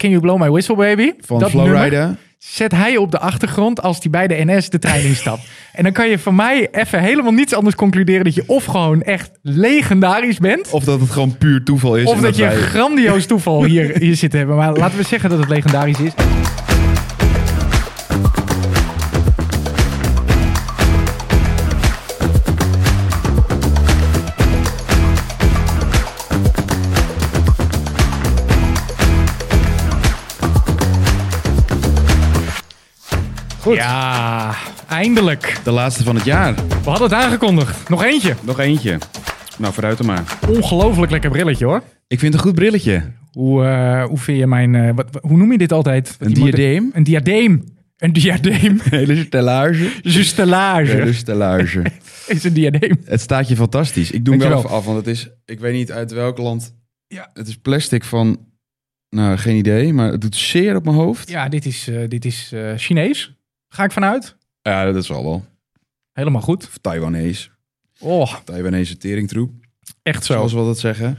Can You Blow My Whistle Baby. Van dat nummer Flowrider. zet hij op de achtergrond als die bij de NS de trein instapt. en dan kan je van mij even helemaal niets anders concluderen dat je of gewoon echt legendarisch bent. Of dat het gewoon puur toeval is. Of en dat je een wij- grandioos toeval hier, hier zit te hebben. Maar laten we zeggen dat het legendarisch is. Goed. Ja, eindelijk. De laatste van het jaar. We hadden het aangekondigd. Nog eentje. Nog eentje. Nou, vooruit dan maar. Ongelooflijk lekker brilletje hoor. Ik vind een goed brilletje. Hoe, eh, hoe vind je mijn. eh, wat, wat- hoe noem je dit altijd? Een Die diadeem? mode- Een diadeem. Een diadeem. Hele stellage. Justelage Hele stellage. is een diadeem. Het staat je fantastisch. Ik doe hem wel Dankjewel. even af, want het is, ik weet niet uit welk land. Ja. Het is plastic van, nou geen idee, maar het doet zeer op mijn hoofd. Ja, dit is, eh, dit is eh, Chinees. Ga ik vanuit. Ja, dat is al wel. Helemaal goed. Of Taiwanese. Oh, Taiwanese teringtroep, echt zo. zoals we dat zeggen.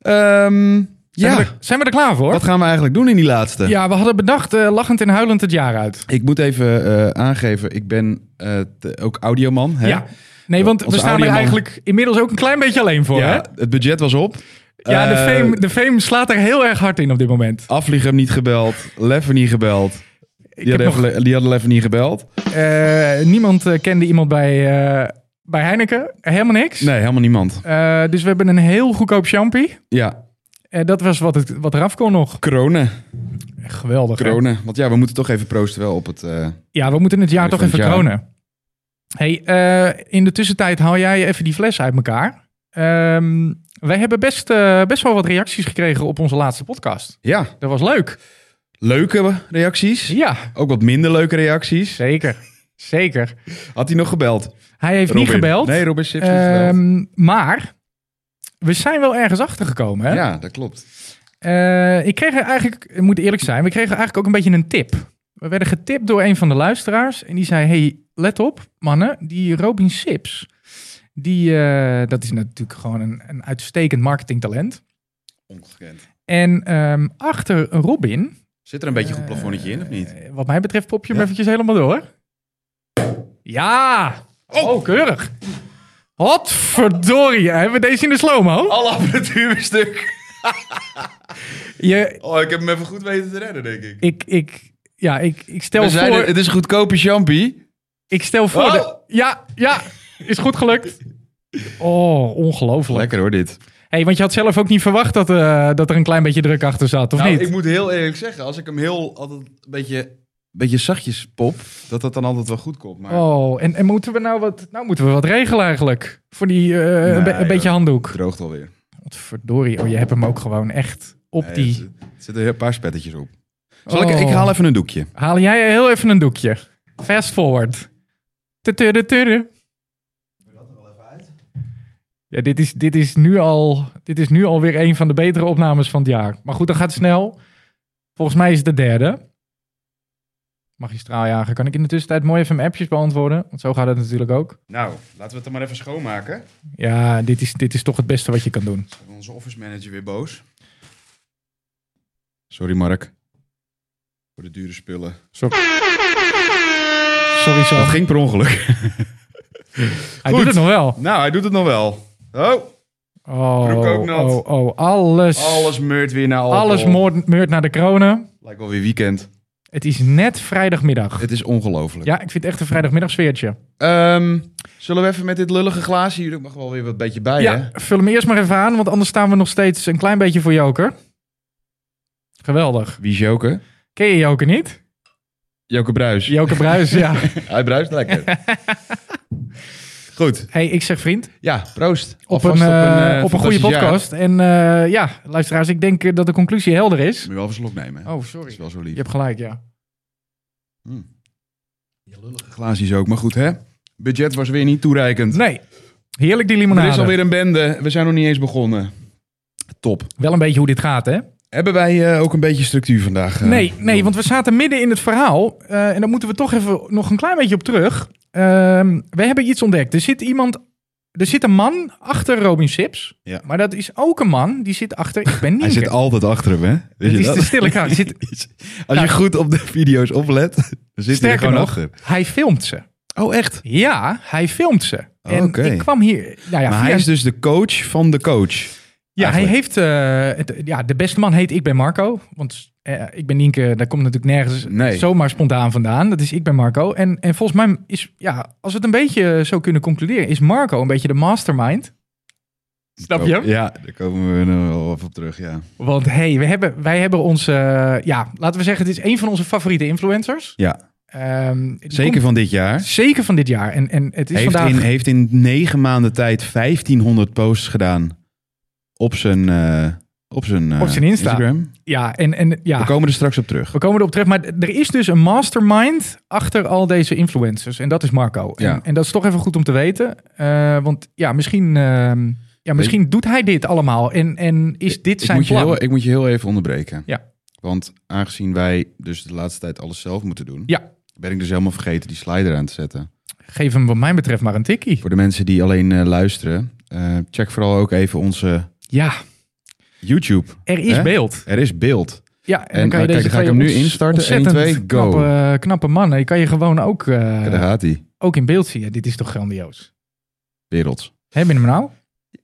Ehm, Zijn, ja, we er, zijn we er klaar voor? wat gaan we eigenlijk doen in die laatste? Ja, we hadden bedacht eh, lachend en huilend het jaar uit. Ik moet even eh, aangeven, ik ben eh, te- ook audioman. Hè? Ja. Nee, want we Onze staan er audioman. eigenlijk inmiddels ook een klein beetje alleen voor. Ja, het budget was op. Hè? ja de, Eh, fame, de fame slaat er heel erg hard in op dit moment. Afliegem niet gebeld, Lever niet gebeld. Die heb hadden, nog- even, die hadden Lever niet gebeld. Eh, niemand eh, kende iemand bij, eh, bij Heineken. Helemaal niks. Nee, helemaal niemand. Eh, dus we hebben een heel goedkoop champie. Ja, Eh, dat was wat, het, wat eraf kon nog. kronen. Geweldig. hè? Kronen. Want ja, we moeten toch even proosten wel op het... eh, Ja, we moeten het jaar Even toch even het jaar. kronen. Hey, eh, in de tussentijd haal jij even die fles uit elkaar. Ehm, wij hebben best, eh, best wel wat reacties gekregen op onze laatste podcast. ja, Dat was leuk. leuke reacties. Ja, Ook wat minder leuke reacties. zeker. Zeker. Had hij nog gebeld? Hij heeft Robin. niet gebeld. Nee, Robin Sips niet gebeld. Ehm, maar we zijn wel ergens achtergekomen. Hè? Ja, dat klopt. Eh, ik kreeg er eigenlijk, ik moet eerlijk zijn, we kregen eigenlijk ook een beetje een tip. We werden getipt door een van de luisteraars en die zei: Hey, let op, mannen, die Robin Sips. Die, eh, dat is natuurlijk gewoon een, een uitstekend marketingtalent. Ongekend. En ehm, achter Robin, Zit er een beetje goed plafonnetje in, of niet? eh, wat mij betreft, pop je hem Ja. eventjes helemaal door. Ja! Oh, keurig. Wat verdorie, hebben we deze in de slow-mo? Alle apparatuur weer stuk. Je, Oh, ik heb hem even goed weten te redden, denk ik. ik, ik, ja, ik, ik stel We zeiden, voor... het is een goedkope champie. Ik stel voor. Oh! de- ja, ja, is goed gelukt. Oh, ongelooflijk. Lekker hoor, dit. Hey, want je had zelf ook niet verwacht dat, eh, dat er een klein beetje druk achter zat, of niet? Nou, ik moet heel eerlijk zeggen, als ik hem heel altijd een beetje, beetje zachtjes pop, dat dat dan altijd wel goed komt. Maar Oh, en, en moeten we nou wat, nou moeten we wat regelen eigenlijk? Voor die, eh, een, be- een joh. beetje handdoek. het droogt alweer. Wat verdorie, oh, je hebt hem ook gewoon echt op Nee, die. het- Er zitten een paar spettetjes op. Zal ik, Oh. ik haal even een doekje. Haal jij heel even een doekje. Fast forward. Tudu, tudu. Ja, dit is, dit, is nu al, dit is nu alweer een van de betere opnames van het jaar. Maar goed, dat gaat snel. Volgens mij is het de derde. Magistraaljager. Kan ik in de tussentijd mooi even mijn appjes beantwoorden? Want zo gaat het natuurlijk ook. Nou, laten we het dan maar even schoonmaken. Ja, dit is, dit is toch het beste wat je kan doen. Onze office manager weer boos. Sorry, Mark. Voor de dure spullen. Sorry, zo. Dat ging per ongeluk. Hij doet goed. het nog wel. Nou, hij doet het nog wel. Oh, Broek Oh, ook nat. oh, oh. Alles. alles meurt weer naar alcohol. Alles moord, meurt naar de kronen. Lijkt wel weer weekend. Het is net vrijdagmiddag. Het is ongelooflijk. Ja, ik vind het echt een vrijdagmiddagsfeertje. Ehm, zullen we even met dit lullige glaasje hier... Ik mag wel weer wat beetje bij, hè? Ja, vul hem eerst maar even aan, want anders staan we nog steeds een klein beetje voor Joker. Geweldig. Wie is Joke? Ken je Joker niet? Joke Bruis. Joker Bruis, ja. Hij bruist lekker. Goed. Hey, ik zeg vriend, Ja, proost. op Alvast een, eh, eh, op een goede fantastisch jaar. podcast. En eh, ja, luisteraars, ik denk eh, dat de conclusie helder is. Moet je wel even een slok nemen. hè? Oh, Dat is sorry. wel zo Je lief. hebt gelijk, ja. Glaasjes ook, maar goed hè. Budget was weer niet toereikend. Nee, nou. heerlijk die er is limonade. alweer een bende. We zijn nog niet eens begonnen. Top. Wel een beetje hoe dit gaat, hè? Hebben wij eh, ook een beetje structuur vandaag? eh? Nee, nee, want we zaten midden in het verhaal. eh, en daar moeten we toch even nog een klein beetje op terug. Ehm, we hebben iets ontdekt. Er zit iemand Er zit een man achter Robin Sips. Ja. Maar dat is ook een man die zit achter Ik Ben Hij Nienke. zit altijd achter hem, hè? Weet Het je is dat? de stille kracht. Er zit- Als Nou. je goed op de video's oplet, dan zit hij er Sterker gewoon nog, achter. hij filmt ze. Oh, echt? Ja, hij filmt ze. En Oké. ik kwam hier... Nou ja, maar via- hij is dus de coach van de coach. ja, hij eigenlijk. heeft... eh, het- ja, de beste man heet Ik Ben Marco. Want eh, Ik Ben Nienke, daar komt natuurlijk nergens Nee. zomaar spontaan vandaan. Dat is Ik Ben Marco. En, en volgens mij is... Ja, als we het een beetje zo kunnen concluderen... is Marco een beetje de mastermind. Snap je hem? Ja, daar komen we nog wel even op terug, ja. Want hey, we hebben, wij hebben onze... eh, ja, laten we zeggen, het is een van onze favoriete influencers. Ja, Ehm, die zeker komt- van dit jaar. zeker van dit jaar. En, en het is Heeft, vandaag... in, heeft in negen maanden tijd 1500 posts gedaan op zijn, eh, op zijn, eh, Op zijn Insta. Ah. Instagram. Ja, en, en ja. We komen er straks op terug. We komen erop terecht, maar d- er is dus een mastermind achter al deze influencers. En dat is Marco. Ja. En, en dat is toch even goed om te weten. eh, want ja, misschien, ehm, ja, misschien doet hij dit allemaal. En, en is dit ik zijn moet je plan? Heel, e- ik moet je heel even onderbreken. Ja. Want aangezien wij dus de laatste tijd alles zelf moeten doen, Ja. ben ik dus helemaal vergeten die slider aan te zetten. Geef hem wat mij betreft maar een tikkie. Voor de mensen die alleen eh, luisteren, eh, check vooral ook even onze Ja, YouTube. er is Hè? beeld. Er is beeld. Ja, en, En, dan kan je eh, kijk, deze ga ik twee hem nu ons- instarten. ontzettend 1, 2, go. Knappe, knappe mannen. Je kan je gewoon ook, eh, Ja, daar gaat hij. ook in beeld zien. Ja, dit is toch grandioos. Werelds. Hebben we hem nou?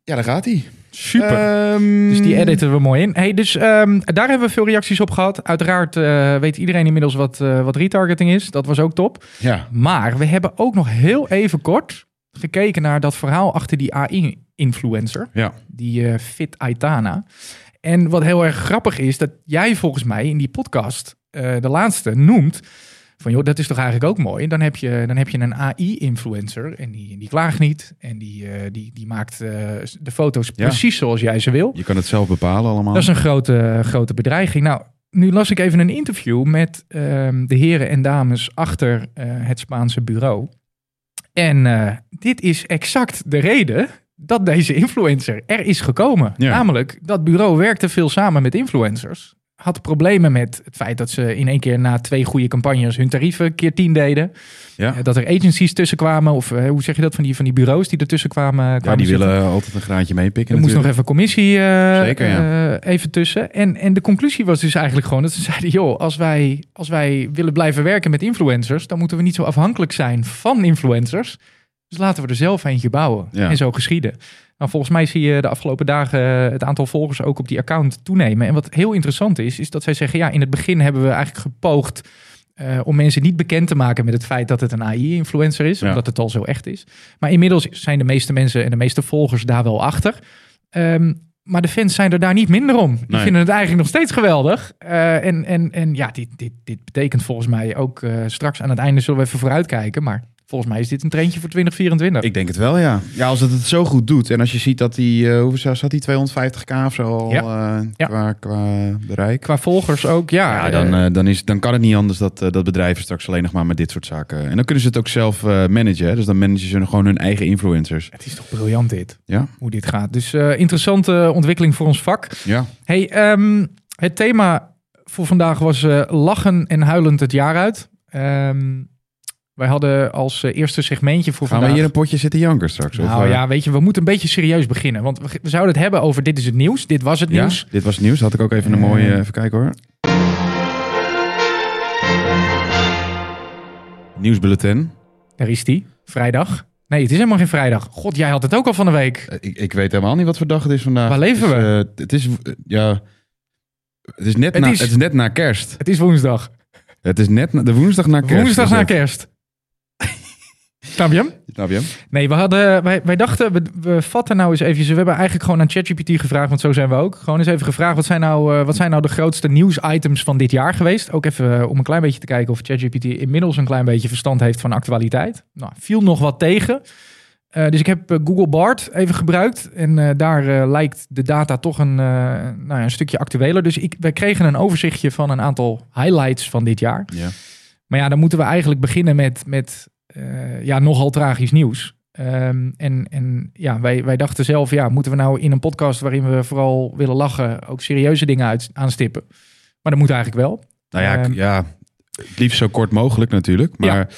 Ja, daar gaat hij. Ehm, Super. Dus Mm. die editen we mooi in. Hey, dus ehm, daar hebben we veel reacties op gehad. Uiteraard eh, weet iedereen inmiddels wat, eh, wat retargeting is. Dat was ook top. Ja. Maar we hebben ook nog heel even kort gekeken naar dat verhaal achter die AI-influencer. Ja. Die eh, Fit Aitana. En wat heel erg grappig is, dat jij volgens mij in die podcast, eh, de laatste, noemt... Van joh, dat is toch eigenlijk ook mooi. Dan heb je, dan heb je een AI-influencer en die, die klaagt niet. En die, eh, die, die maakt eh, de foto's Ja. precies zoals jij ze wil. Je kan het zelf bepalen allemaal. Dat is een grote, grote bedreiging. Nou, nu las ik even een interview met ehm, de heren en dames achter eh, het Spaanse bureau. En eh, dit is exact de reden dat deze influencer er is gekomen. Ja. Namelijk, dat bureau werkte veel samen met influencers. Had problemen met het feit dat ze in één keer na twee goede campagnes hun tarieven keer tien deden. ja. Eh, Dat er agencies tussen kwamen, of eh, hoe zeg je dat, van die, van die bureaus die ertussen kwamen. ja, kwamen die zitten. willen altijd een graantje meepikken. Er moest nog natuurlijk. even commissie eh, Zeker, ja. eh, even tussen. En, en de conclusie was dus eigenlijk gewoon dat ze zeiden... joh, als wij, als wij willen blijven werken met influencers... dan moeten we niet zo afhankelijk zijn van influencers. Dus laten we er zelf eentje bouwen. Ja. En zo geschieden. Nou, volgens mij zie je de afgelopen dagen eh, het aantal volgers ook op die account toenemen. En wat heel interessant is, is dat zij zeggen... ja, in het begin hebben we eigenlijk gepoogd... eh, om mensen niet bekend te maken met het feit dat het een AI-influencer is, Ja. omdat het al zo echt is. Maar inmiddels zijn de meeste mensen en de meeste volgers daar wel achter. Ehm, maar de fans zijn er daar niet minder om. Die Nee. vinden het eigenlijk nog steeds geweldig. Eh, en, en, en ja, dit, dit, dit betekent volgens mij ook eh, straks aan het einde zullen we even vooruitkijken. Maar volgens mij is dit een trendje voor 2024. Ik denk het wel, ja. Ja, als het het zo goed doet. En als je ziet dat die, eh, hoeveel zat- zat die, 250k of zo al eh, Ja. Qua, qua bereik. Qua volgers ook, ja. Ja, dan, eh, eh, dan, is, dan kan het niet anders dat, eh, dat bedrijven straks alleen nog maar met dit soort zaken. En dan kunnen ze het ook zelf eh, managen. Hè? Dus dan managen ze gewoon hun eigen influencers. het is toch briljant dit, Ja, hoe dit gaat. Dus eh, interessante ontwikkeling voor ons vak. ja. Hey, ehm, het thema voor vandaag was eh, lachen en huilend het jaar uit. Ehm, wij hadden als eh, eerste segmentje voor Gaan we vandaag... hier een potje zitten janken straks? of, nou eh, ja, weet je, we moeten een beetje serieus beginnen. Want we, we zouden het hebben over dit is het nieuws, dit was het ja? nieuws. Dit was het nieuws. Had ik ook even een mooie. Eh. even kijken hoor. Nieuwsbulletin. Daar is die, vrijdag. Nee, het is helemaal geen vrijdag. God, jij had het ook al van de week. Eh, Ik, ik weet helemaal niet wat voor dag het is vandaag. Waar leven het is, eh, het is. eh, ja. Het is, net Het na, is- het is net na kerst. Het is woensdag. Het is net na, de woensdag na kerst. woensdag is na het. kerst. Snap je hem? Snap je hem? Nee, we hadden, wij, wij dachten, we, we vatten nou eens even. We hebben eigenlijk gewoon aan ChatGPT gevraagd, want zo zijn we ook. Gewoon eens even gevraagd, wat zijn nou, eh, wat zijn nou de grootste nieuwsitems van dit jaar geweest? Ook even eh, om een klein beetje te kijken of ChatGPT inmiddels een klein beetje verstand heeft van actualiteit. Nou, viel nog wat tegen. Eh, dus ik heb eh, Google Bart even gebruikt. En eh, daar eh, lijkt de data toch een, eh, nou ja, een stukje actueler. Dus ik, wij kregen een overzichtje van een aantal highlights van dit jaar. Ja. Maar ja, dan moeten we eigenlijk beginnen met, met eh, ja, nogal tragisch nieuws. Ehm, en en ja, wij, wij dachten zelf, ja, moeten we nou in een podcast waarin we vooral willen lachen ook serieuze dingen uit, aanstippen? Maar dat moet eigenlijk wel. Nou ja, ik- Ehm. eh, ja, het liefst zo kort mogelijk natuurlijk. Maar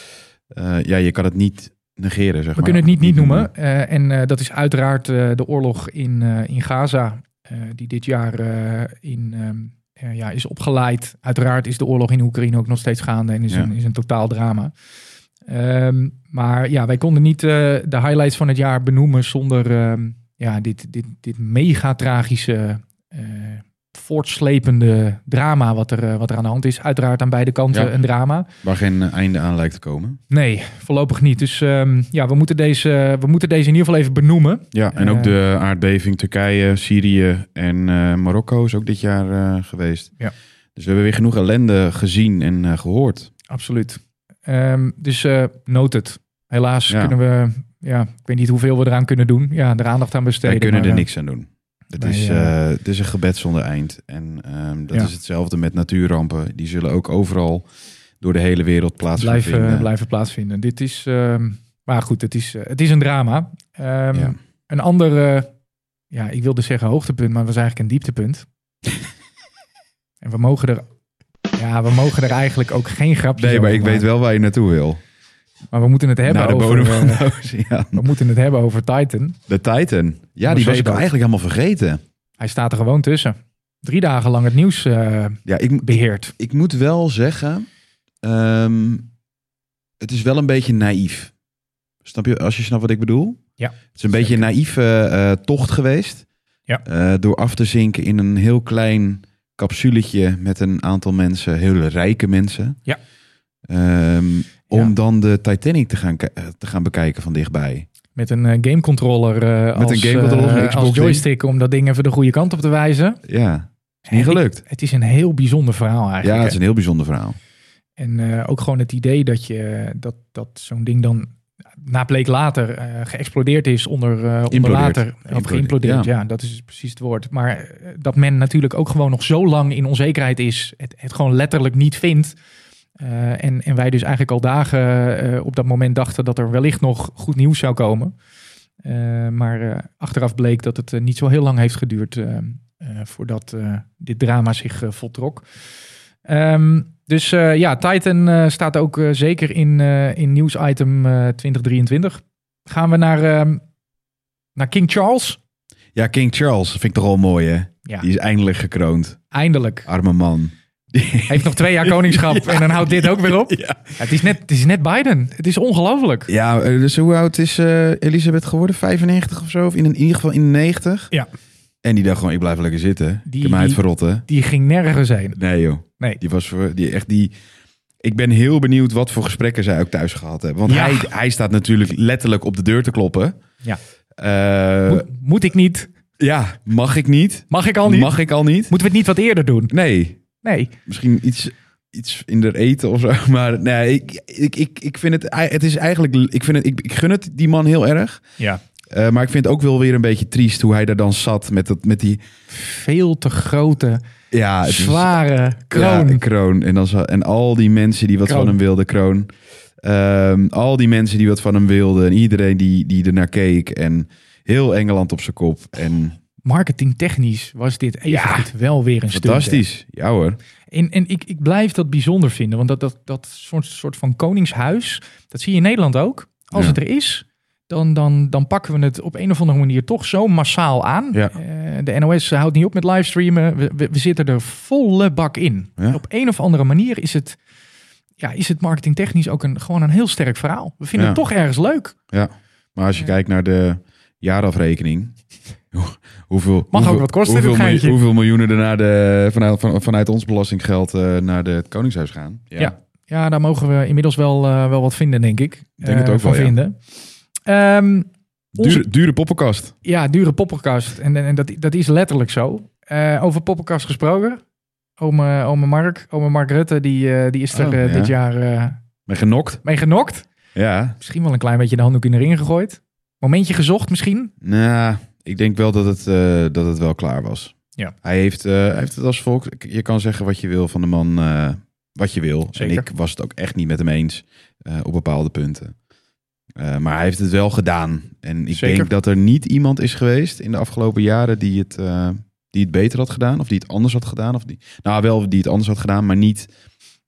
ja. ja, je kan het niet negeren, zeg We maar. kunnen het niet niet noemen. Eh, en eh, dat is uiteraard eh, de oorlog in, eh, in Gaza, eh, die dit jaar eh, in, ehm, eh, ja, is opgeleid. Uiteraard is de oorlog in Oekraïne ook nog steeds gaande en is, Ja. een, is een totaal drama. Ehm, maar ja, wij konden niet eh, de highlights van het jaar benoemen zonder ehm, ja, dit, dit, dit mega tragische, eh, voortslepende drama wat er, eh, wat er aan de hand is. Uiteraard aan beide kanten Ja. een drama. Waar geen eh, einde aan lijkt te komen. Nee, voorlopig niet. Dus ehm, ja, we moeten, deze, we moeten deze in ieder geval even benoemen. Ja, en ook Eh. de aardbeving Turkije, Syrië en eh, Marokko is ook dit jaar eh, geweest. Ja. Dus we hebben weer genoeg ellende gezien en eh, gehoord. Absoluut. dus eh noot het. Helaas Ja. kunnen we, ja, ik weet niet hoeveel we eraan kunnen doen. Ja, er aandacht aan besteden. Wij kunnen maar, er eh, niks aan doen. Het wij, is, eh, eh, het is een gebed zonder eind. En ehm, dat Ja. is hetzelfde met natuurrampen. Die zullen ook overal door de hele wereld plaatsvinden. blijven, eh, blijven plaatsvinden. Dit is, ehm, maar goed, het is, eh, het is een drama. Ehm, Ja. Een ander, eh, ja, ik wilde zeggen hoogtepunt, maar het was eigenlijk een dieptepunt. en we mogen er, ja, we mogen er eigenlijk ook geen grapjes Nee, maar over ik weet maken. wel waar je naartoe wil. Maar we moeten het hebben Naar de over, bodem van eh, de oceaan. We moeten het hebben over Titan. De Titan. Ja, Maar die zo was is ik dat. eigenlijk helemaal vergeten. Hij staat er gewoon tussen. Drie dagen lang het nieuws eh, Ja, ik, beheert. ik moet wel zeggen, ehm, het is wel een beetje naïef. Snap je, als je snapt wat ik bedoel? Ja, Het is een beetje een naïeve eh, tocht geweest. Ja. Eh, door af te zinken in een heel klein capsuletje met een aantal mensen, hele rijke mensen. Ja. Ehm, om Ja. dan de Titanic te gaan, ki- eh, te gaan bekijken van dichtbij. Met een eh, gamecontroller eh, Met als, een gamecontroller, eh, een Xbox als joystick om dat ding even de goede kant op te wijzen. Ja, is niet En ik- gelukt. Het is een heel bijzonder verhaal Ja, eigenlijk. het is een heel bijzonder verhaal. En eh, ook gewoon het idee dat, je, dat, dat zo'n ding dan na bleek later eh, geëxplodeerd is onder, eh onder Implodeert. later. Of Implodeert, geïmplodeerd, ja. dat is precies het woord. Maar eh, dat men natuurlijk ook gewoon nog zo lang in onzekerheid is, het, het gewoon letterlijk niet vindt. Eh, en, en wij dus eigenlijk al dagen eh, op dat moment dachten dat er wellicht nog goed nieuws zou komen. Eh, maar eh, achteraf bleek dat het eh, niet zo heel lang heeft geduurd eh, eh, voordat eh, dit drama zich eh, voltrok. Ehm, dus eh, ja, Titan eh, staat ook eh, zeker in, eh in nieuwsitem eh 2023. Gaan we naar, ehm, naar King Charles? Ja, King Charles vind ik toch wel mooi, hè? Ja, Die is eindelijk gekroond. eindelijk. Arme man. Heeft nog twee jaar koningschap en dan houdt dit ook weer op. Ja. Ja, het, is net, het is net Biden. Het is ongelooflijk. Ja, eh, dus hoe oud is eh, Elisabeth geworden? 95 of zo? Of in, in ieder geval in de 90? Ja. En die dacht gewoon, ik blijf lekker zitten. Die- ik heb mij het verrotten. Die ging nergens heen. Nee joh. Nee. Die was voor, die echt die... Ik ben heel benieuwd wat voor gesprekken zij ook thuis gehad hebben. Want Ja. hij, hij staat natuurlijk letterlijk op de deur te kloppen. Ja. Eh, Moet, moet ik niet? ja, mag ik niet? Mag ik al niet? Mag ik al niet? Moeten we het niet wat eerder doen? Nee, Nee. misschien iets, iets in de eten of zo. Maar nee, ik, ik, ik, ik vind het, het is eigenlijk, ik, vind het, ik, ik gun het die man heel erg. Ja. Eh, maar ik vind het ook wel weer een beetje triest hoe hij daar dan zat met, dat, met die Veel te grote, ja, het is- zware kroon. Ja, een kroon. En, dan, za- en al die mensen die wat Kroon. van hem wilden, kroon. Ehm, al die mensen die wat van hem wilden. En iedereen die, die ernaar keek. En heel Engeland op zijn kop. En Marketingtechnisch was dit evengoed wel weer een stuk. fantastisch. Ja hoor. En, en ik, ik blijf dat bijzonder vinden. Want dat, dat, dat soort, soort van koningshuis, dat zie je in Nederland ook. Als Ja. het er is, dan, dan, dan pakken we het op een of andere manier toch zo massaal aan. Ja. Eh, de NOS houdt niet op met livestreamen. We, we, we zitten er volle bak in. Ja. Op een of andere manier is het, ja, is het marketingtechnisch ook een, gewoon een heel sterk verhaal. We vinden Ja. het toch ergens leuk. Maar als je Ja. kijkt naar de jaarafrekening. hoe- Hoeveel, Mag ook hoeveel, wat kosten, hoeveel, dit miljoen- geintje. hoeveel miljoenen er naar de, vanuit, van, vanuit ons belastinggeld eh, naar de, het Koningshuis gaan. Ja. Ja, daar mogen we inmiddels wel, eh, wel wat vinden, denk ik. Ik denk het Eh, ook van wel, ja. vinden. Ehm, Onze- Dure, dure poppenkast. Ja, dure poppenkast. En, en, en dat, dat is letterlijk zo. Eh, over poppenkast gesproken. Ome, ome Mark, ome Mark Rutte, die, eh, die is er Oh, eh, ja. dit jaar eh, Maar genokt. mee genokt. Ja. Misschien wel een klein beetje de handdoek in de ring gegooid. Momentje gezocht misschien. Nou, ik denk wel dat het, eh, dat het wel klaar was. Ja. Hij, heeft, eh, hij heeft het als volk. Je kan zeggen wat je wil van de man, eh, wat je wil. Zeker. En ik was het ook echt niet met hem eens eh, op bepaalde punten. Eh, maar hij heeft het wel gedaan. En ik Zeker. denk dat er niet iemand is geweest in de afgelopen jaren die het, eh, die het beter had gedaan. Of die het anders had gedaan. Of die, nou, wel die het anders had gedaan, maar niet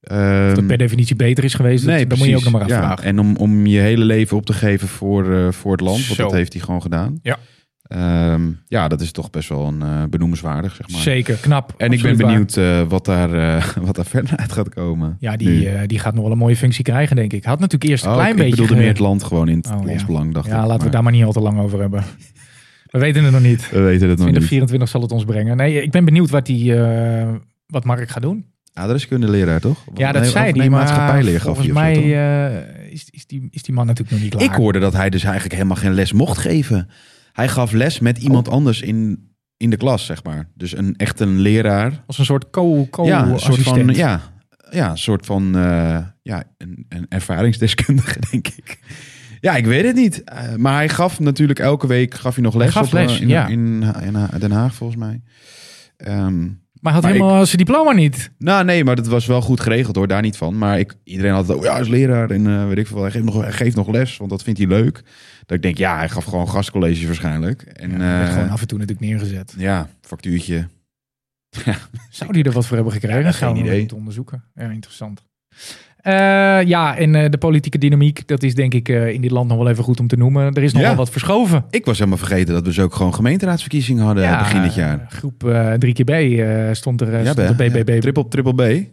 dat Ehm, per definitie beter is geweest, nee, dan moet je ook nog maar precies. afvragen. Ja, en om, om je hele leven op te geven voor, eh, voor het land, want Zo. dat heeft hij gewoon gedaan. Ja. Ehm, ja, dat is toch best wel een eh, benoemenswaardig, zeg maar. Zeker, knap. En ik ben absoluut waar. benieuwd eh, wat, daar, eh, wat daar verder uit gaat komen. Ja, Nu. die, eh, die gaat nog wel een mooie functie krijgen, denk ik. Had natuurlijk eerst een Oh, klein ik beetje... bedoelde ge- meer het land gewoon in het Oh, ja. landsbelang, dacht ja, ik. laten we maar het daar maar niet al te lang over hebben. We weten het nog niet. We weten het nog niet. 2024 zal het ons brengen. Nee, ik ben benieuwd wat, die, eh, wat Mark gaat doen. Adreskundeleraar, toch? Ja, Nee, dat of zei nee, hij, maar maatschappijleer gaf volgens hij of zo, mij toch? eh, is, is, die, is die man natuurlijk nog niet klaar. Ik hoorde dat hij dus eigenlijk helemaal geen les mocht geven. Hij gaf les met Oh. iemand anders in, in de klas, zeg maar. Dus een, echt een leraar. Als een soort co- ja, een soort co-assistent. van, ja, ja, een soort van eh, ja, een, een ervaringsdeskundige, denk ik. Ja, ik weet het niet. Eh, maar hij gaf natuurlijk elke week gaf hij nog les, gaf op, eh, les, in, ja. in, in Ha- Den Haag, volgens mij. Ehm, Maar hij had Maar helemaal zijn diploma niet. nou, nee, maar dat was wel goed geregeld hoor, daar niet van. Maar ik, iedereen had het, oh, ja, hij is leraar en eh, weet ik veel. Hij geeft, nog, hij geeft nog les, want dat vindt hij leuk. Dat ik denk, ja, hij gaf gewoon gastcolleges waarschijnlijk. En Ja, hij werd eh, gewoon af en toe natuurlijk neergezet. ja, factuurtje. Zou die er wat voor hebben gekregen? Ja, dat geen gaan we idee. moeten onderzoeken. Ja, interessant. Eh, ja, en eh, de politieke dynamiek, dat is denk ik eh, in dit land nog wel even goed om te noemen. Er is nog Ja. wel wat verschoven. Ik was helemaal vergeten dat we dus ook gewoon gemeenteraadsverkiezingen hadden Ja, begin dit jaar. eh, Groep eh, 3 keer B eh, stond er eh, Ja, stond hè? de BBB Ja, Triple, triple B.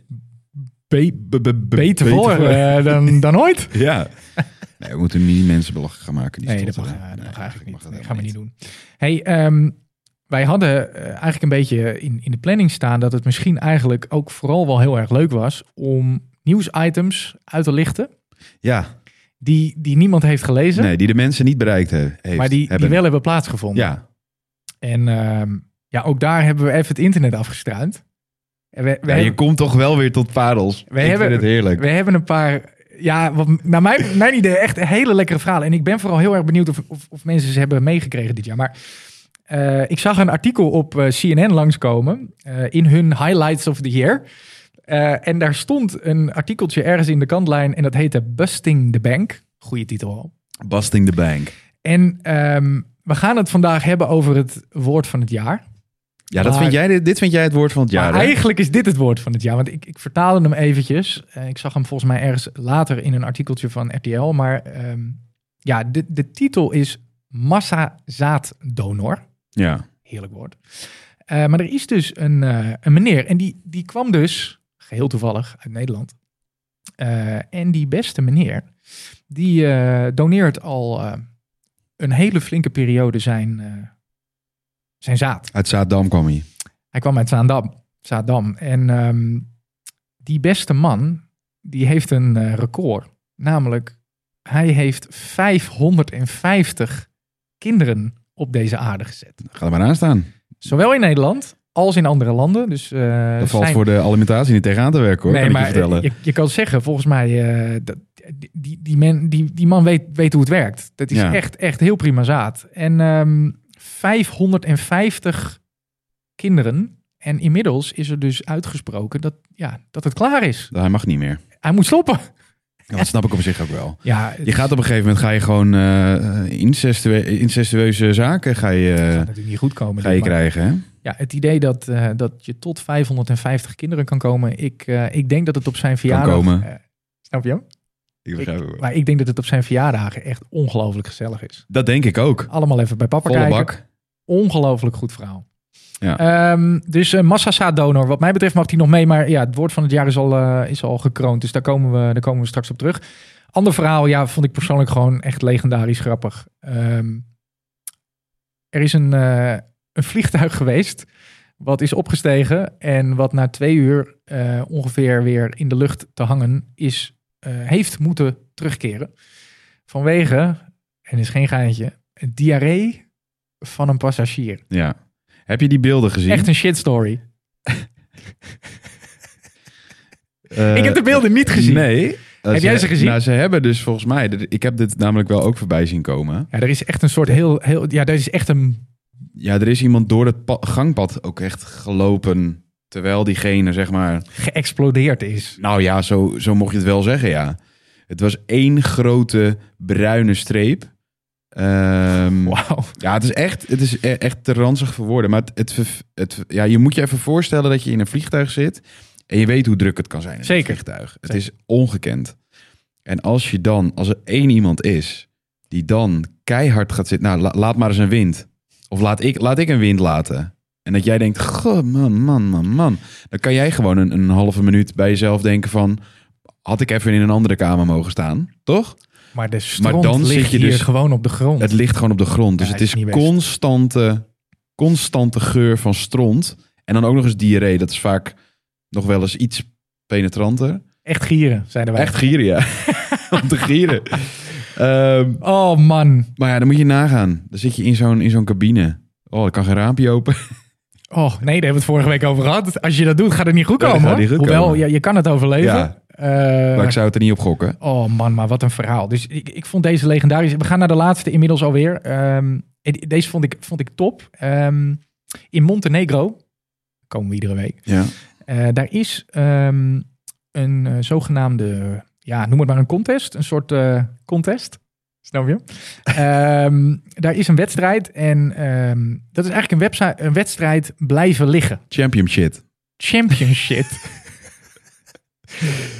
B- B- b- b- beter voor eh, dan, dan ooit. Ja. Nee, we moeten niet mensen belachelijk gaan maken. Die Nee, dat mag, stotteren. eh, dat Nee, mag eigenlijk niet. mag Dat dat gaan we niet helemaal doen. Hey, ehm, wij hadden eh, eigenlijk een beetje in, in de planning staan dat het misschien eigenlijk ook vooral wel heel erg leuk was om nieuwsitems uit te lichten Ja, die, die niemand heeft gelezen, nee, die de mensen niet bereikt he- heeft. maar die, die hebben. wel hebben plaatsgevonden. Ja, En ehm, ja, ook daar hebben we even het internet afgestruind. En we, we Ja, je hebben, komt toch wel weer tot parels. We ik hebben- vind het heerlijk. we hebben een paar, ja, wat, naar mijn, mijn idee echt hele lekkere verhalen. En ik ben vooral heel erg benieuwd of, of, of mensen ze hebben meegekregen dit jaar. Maar eh, ik zag een artikel op eh, CNN langskomen eh, in hun Highlights of the Year. Eh, en daar stond een artikeltje ergens in de kantlijn en dat heette Busting the Bank. Goeie titel al. Busting the bank. En ehm, we gaan het vandaag hebben over het woord van het jaar. Ja, dat Maar- vind jij, dit- dit vind jij het woord van het jaar. maar hè? eigenlijk is dit het woord van het jaar. Want ik, ik vertaalde hem eventjes. Eh, ik zag hem volgens mij ergens later in een artikeltje van RTL. Maar ehm, ja, de, de titel is Massazaaddonor. Ja. Heerlijk woord. Eh, maar er is dus een, eh, een meneer. En die, die kwam dus, geheel toevallig, uit Nederland. Eh, en die beste meneer, die eh, doneert al eh, een hele flinke periode zijn, eh, zijn zaad. Uit Zaaddam kwam hij. Hij kwam uit Zaandam. Zaandam. En ehm, die beste man, die heeft een eh, record. Namelijk, hij heeft 550 kinderen op deze aarde gezet. Ga er maar aan staan. Eh, Zowel in Nederland als in andere landen. Dus, eh, Dat valt zijn- voor de alimentatie niet tegenaan te werken hoor. nee, kan maar eh, ik je vertellen. Je, je kan zeggen, volgens mij, eh, dat, die, die, man, die, die man weet, weet hoe het werkt. Dat is Ja. echt, echt heel prima zaad. En ehm, 550 kinderen. En inmiddels is er dus uitgesproken dat, ja, dat het klaar is. Nou, Hij mag niet meer. Hij moet stoppen. Ja, Dat snap ik op zich ook wel. Ja, het Je is- gaat op een gegeven moment ga je gewoon eh, incestue- incestueuze zaken ga je, het gaat eh, natuurlijk niet goed komen. ga je dit, maar- krijgen. Hè? Ja, het idee dat, eh, dat je tot 550 kinderen kan komen. Ik, eh, ik denk dat het op zijn verjaardag... komen. eh, snap je hem? Ik Ik- begrijp het wel. Maar ik denk dat het op zijn verjaardagen echt ongelooflijk gezellig is. Dat denk ik ook. Allemaal even bij papa Volle kijken. bak. Ongelooflijk goed verhaal. Ja. Ehm, dus een massazaadonor. Wat mij betreft mag die nog mee. Maar ja, het woord van het jaar is al, eh, is al gekroond. Dus daar komen, we, daar komen we straks op terug. Ander verhaal, ja, vond ik persoonlijk gewoon echt legendarisch grappig. Ehm, er is een, eh, een vliegtuig geweest. Wat is opgestegen. En wat na twee uur eh, ongeveer weer in de lucht te hangen is. eh, heeft moeten terugkeren. Vanwege, en is geen geintje, diarree van een passagier. Ja. Heb je die beelden gezien? Echt een shit story. Eh, ik heb de beelden niet gezien. Nee. Heb jij ze gezien? Nou, Eh, ze hebben dus volgens mij... Ik heb dit namelijk wel ook voorbij zien komen. Ja, er is echt een soort heel, heel ja, er is echt een, Ja, er is iemand door het pa- gangpad ook echt gelopen... terwijl diegene, zeg maar... geëxplodeerd is. Nou ja, zo, zo mocht je het wel zeggen, ja. Het was één grote bruine streep. Ehm, Wauw. Ja, het is echt, het is e- echt te ranzig voor woorden. Maar het, het, ver- het, ja, je moet je even voorstellen dat je in een vliegtuig zit. En je weet hoe druk het kan zijn in Zeker. een vliegtuig. Het Zeker. is ongekend. En als je dan, als er één iemand is die dan keihard gaat zitten, nou la- laat maar eens een wind. Of laat ik, laat ik een wind laten. En dat jij denkt, goh, man, man, man, man. Dan kan jij gewoon een, een halve minuut bij jezelf denken van, had ik even in een andere kamer mogen staan, toch? Maar de stront dan ligt zit je hier dus- gewoon op de grond. Het ligt gewoon op de grond. Dus Ja, het is is niet best. constante, constante geur van stront. En dan ook nog eens diarree. Dat is vaak nog wel eens iets penetranter. Echt gieren, zeiden wij. Echt gieren, ja. Om te gieren. Ehm, Oh man. maar ja, dan moet je nagaan. Dan zit je in zo'n, in zo'n cabine. Oh, ik kan geen raampje open. Oh nee, daar hebben we het vorige week over gehad. Als je dat doet, gaat het niet goed Ja, dat komen. gaat niet hoor. goed Hoewel, komen. Ja, je kan het overleven. Ja. Eh, Maar ik zou het er niet op gokken. Oh man, maar wat een verhaal. Dus ik, ik vond deze legendarisch. We gaan naar de laatste inmiddels alweer. Ehm, en die- deze vond ik, vond ik top. Ehm, in Montenegro, komen we iedere week, Ja. eh, daar is ehm, een eh, zogenaamde, ja, noem het maar een contest. Een soort eh, contest. Snap je? Ehm, daar is een wedstrijd en ehm, dat is eigenlijk een, website, een wedstrijd blijven liggen. Champion shit. Championship.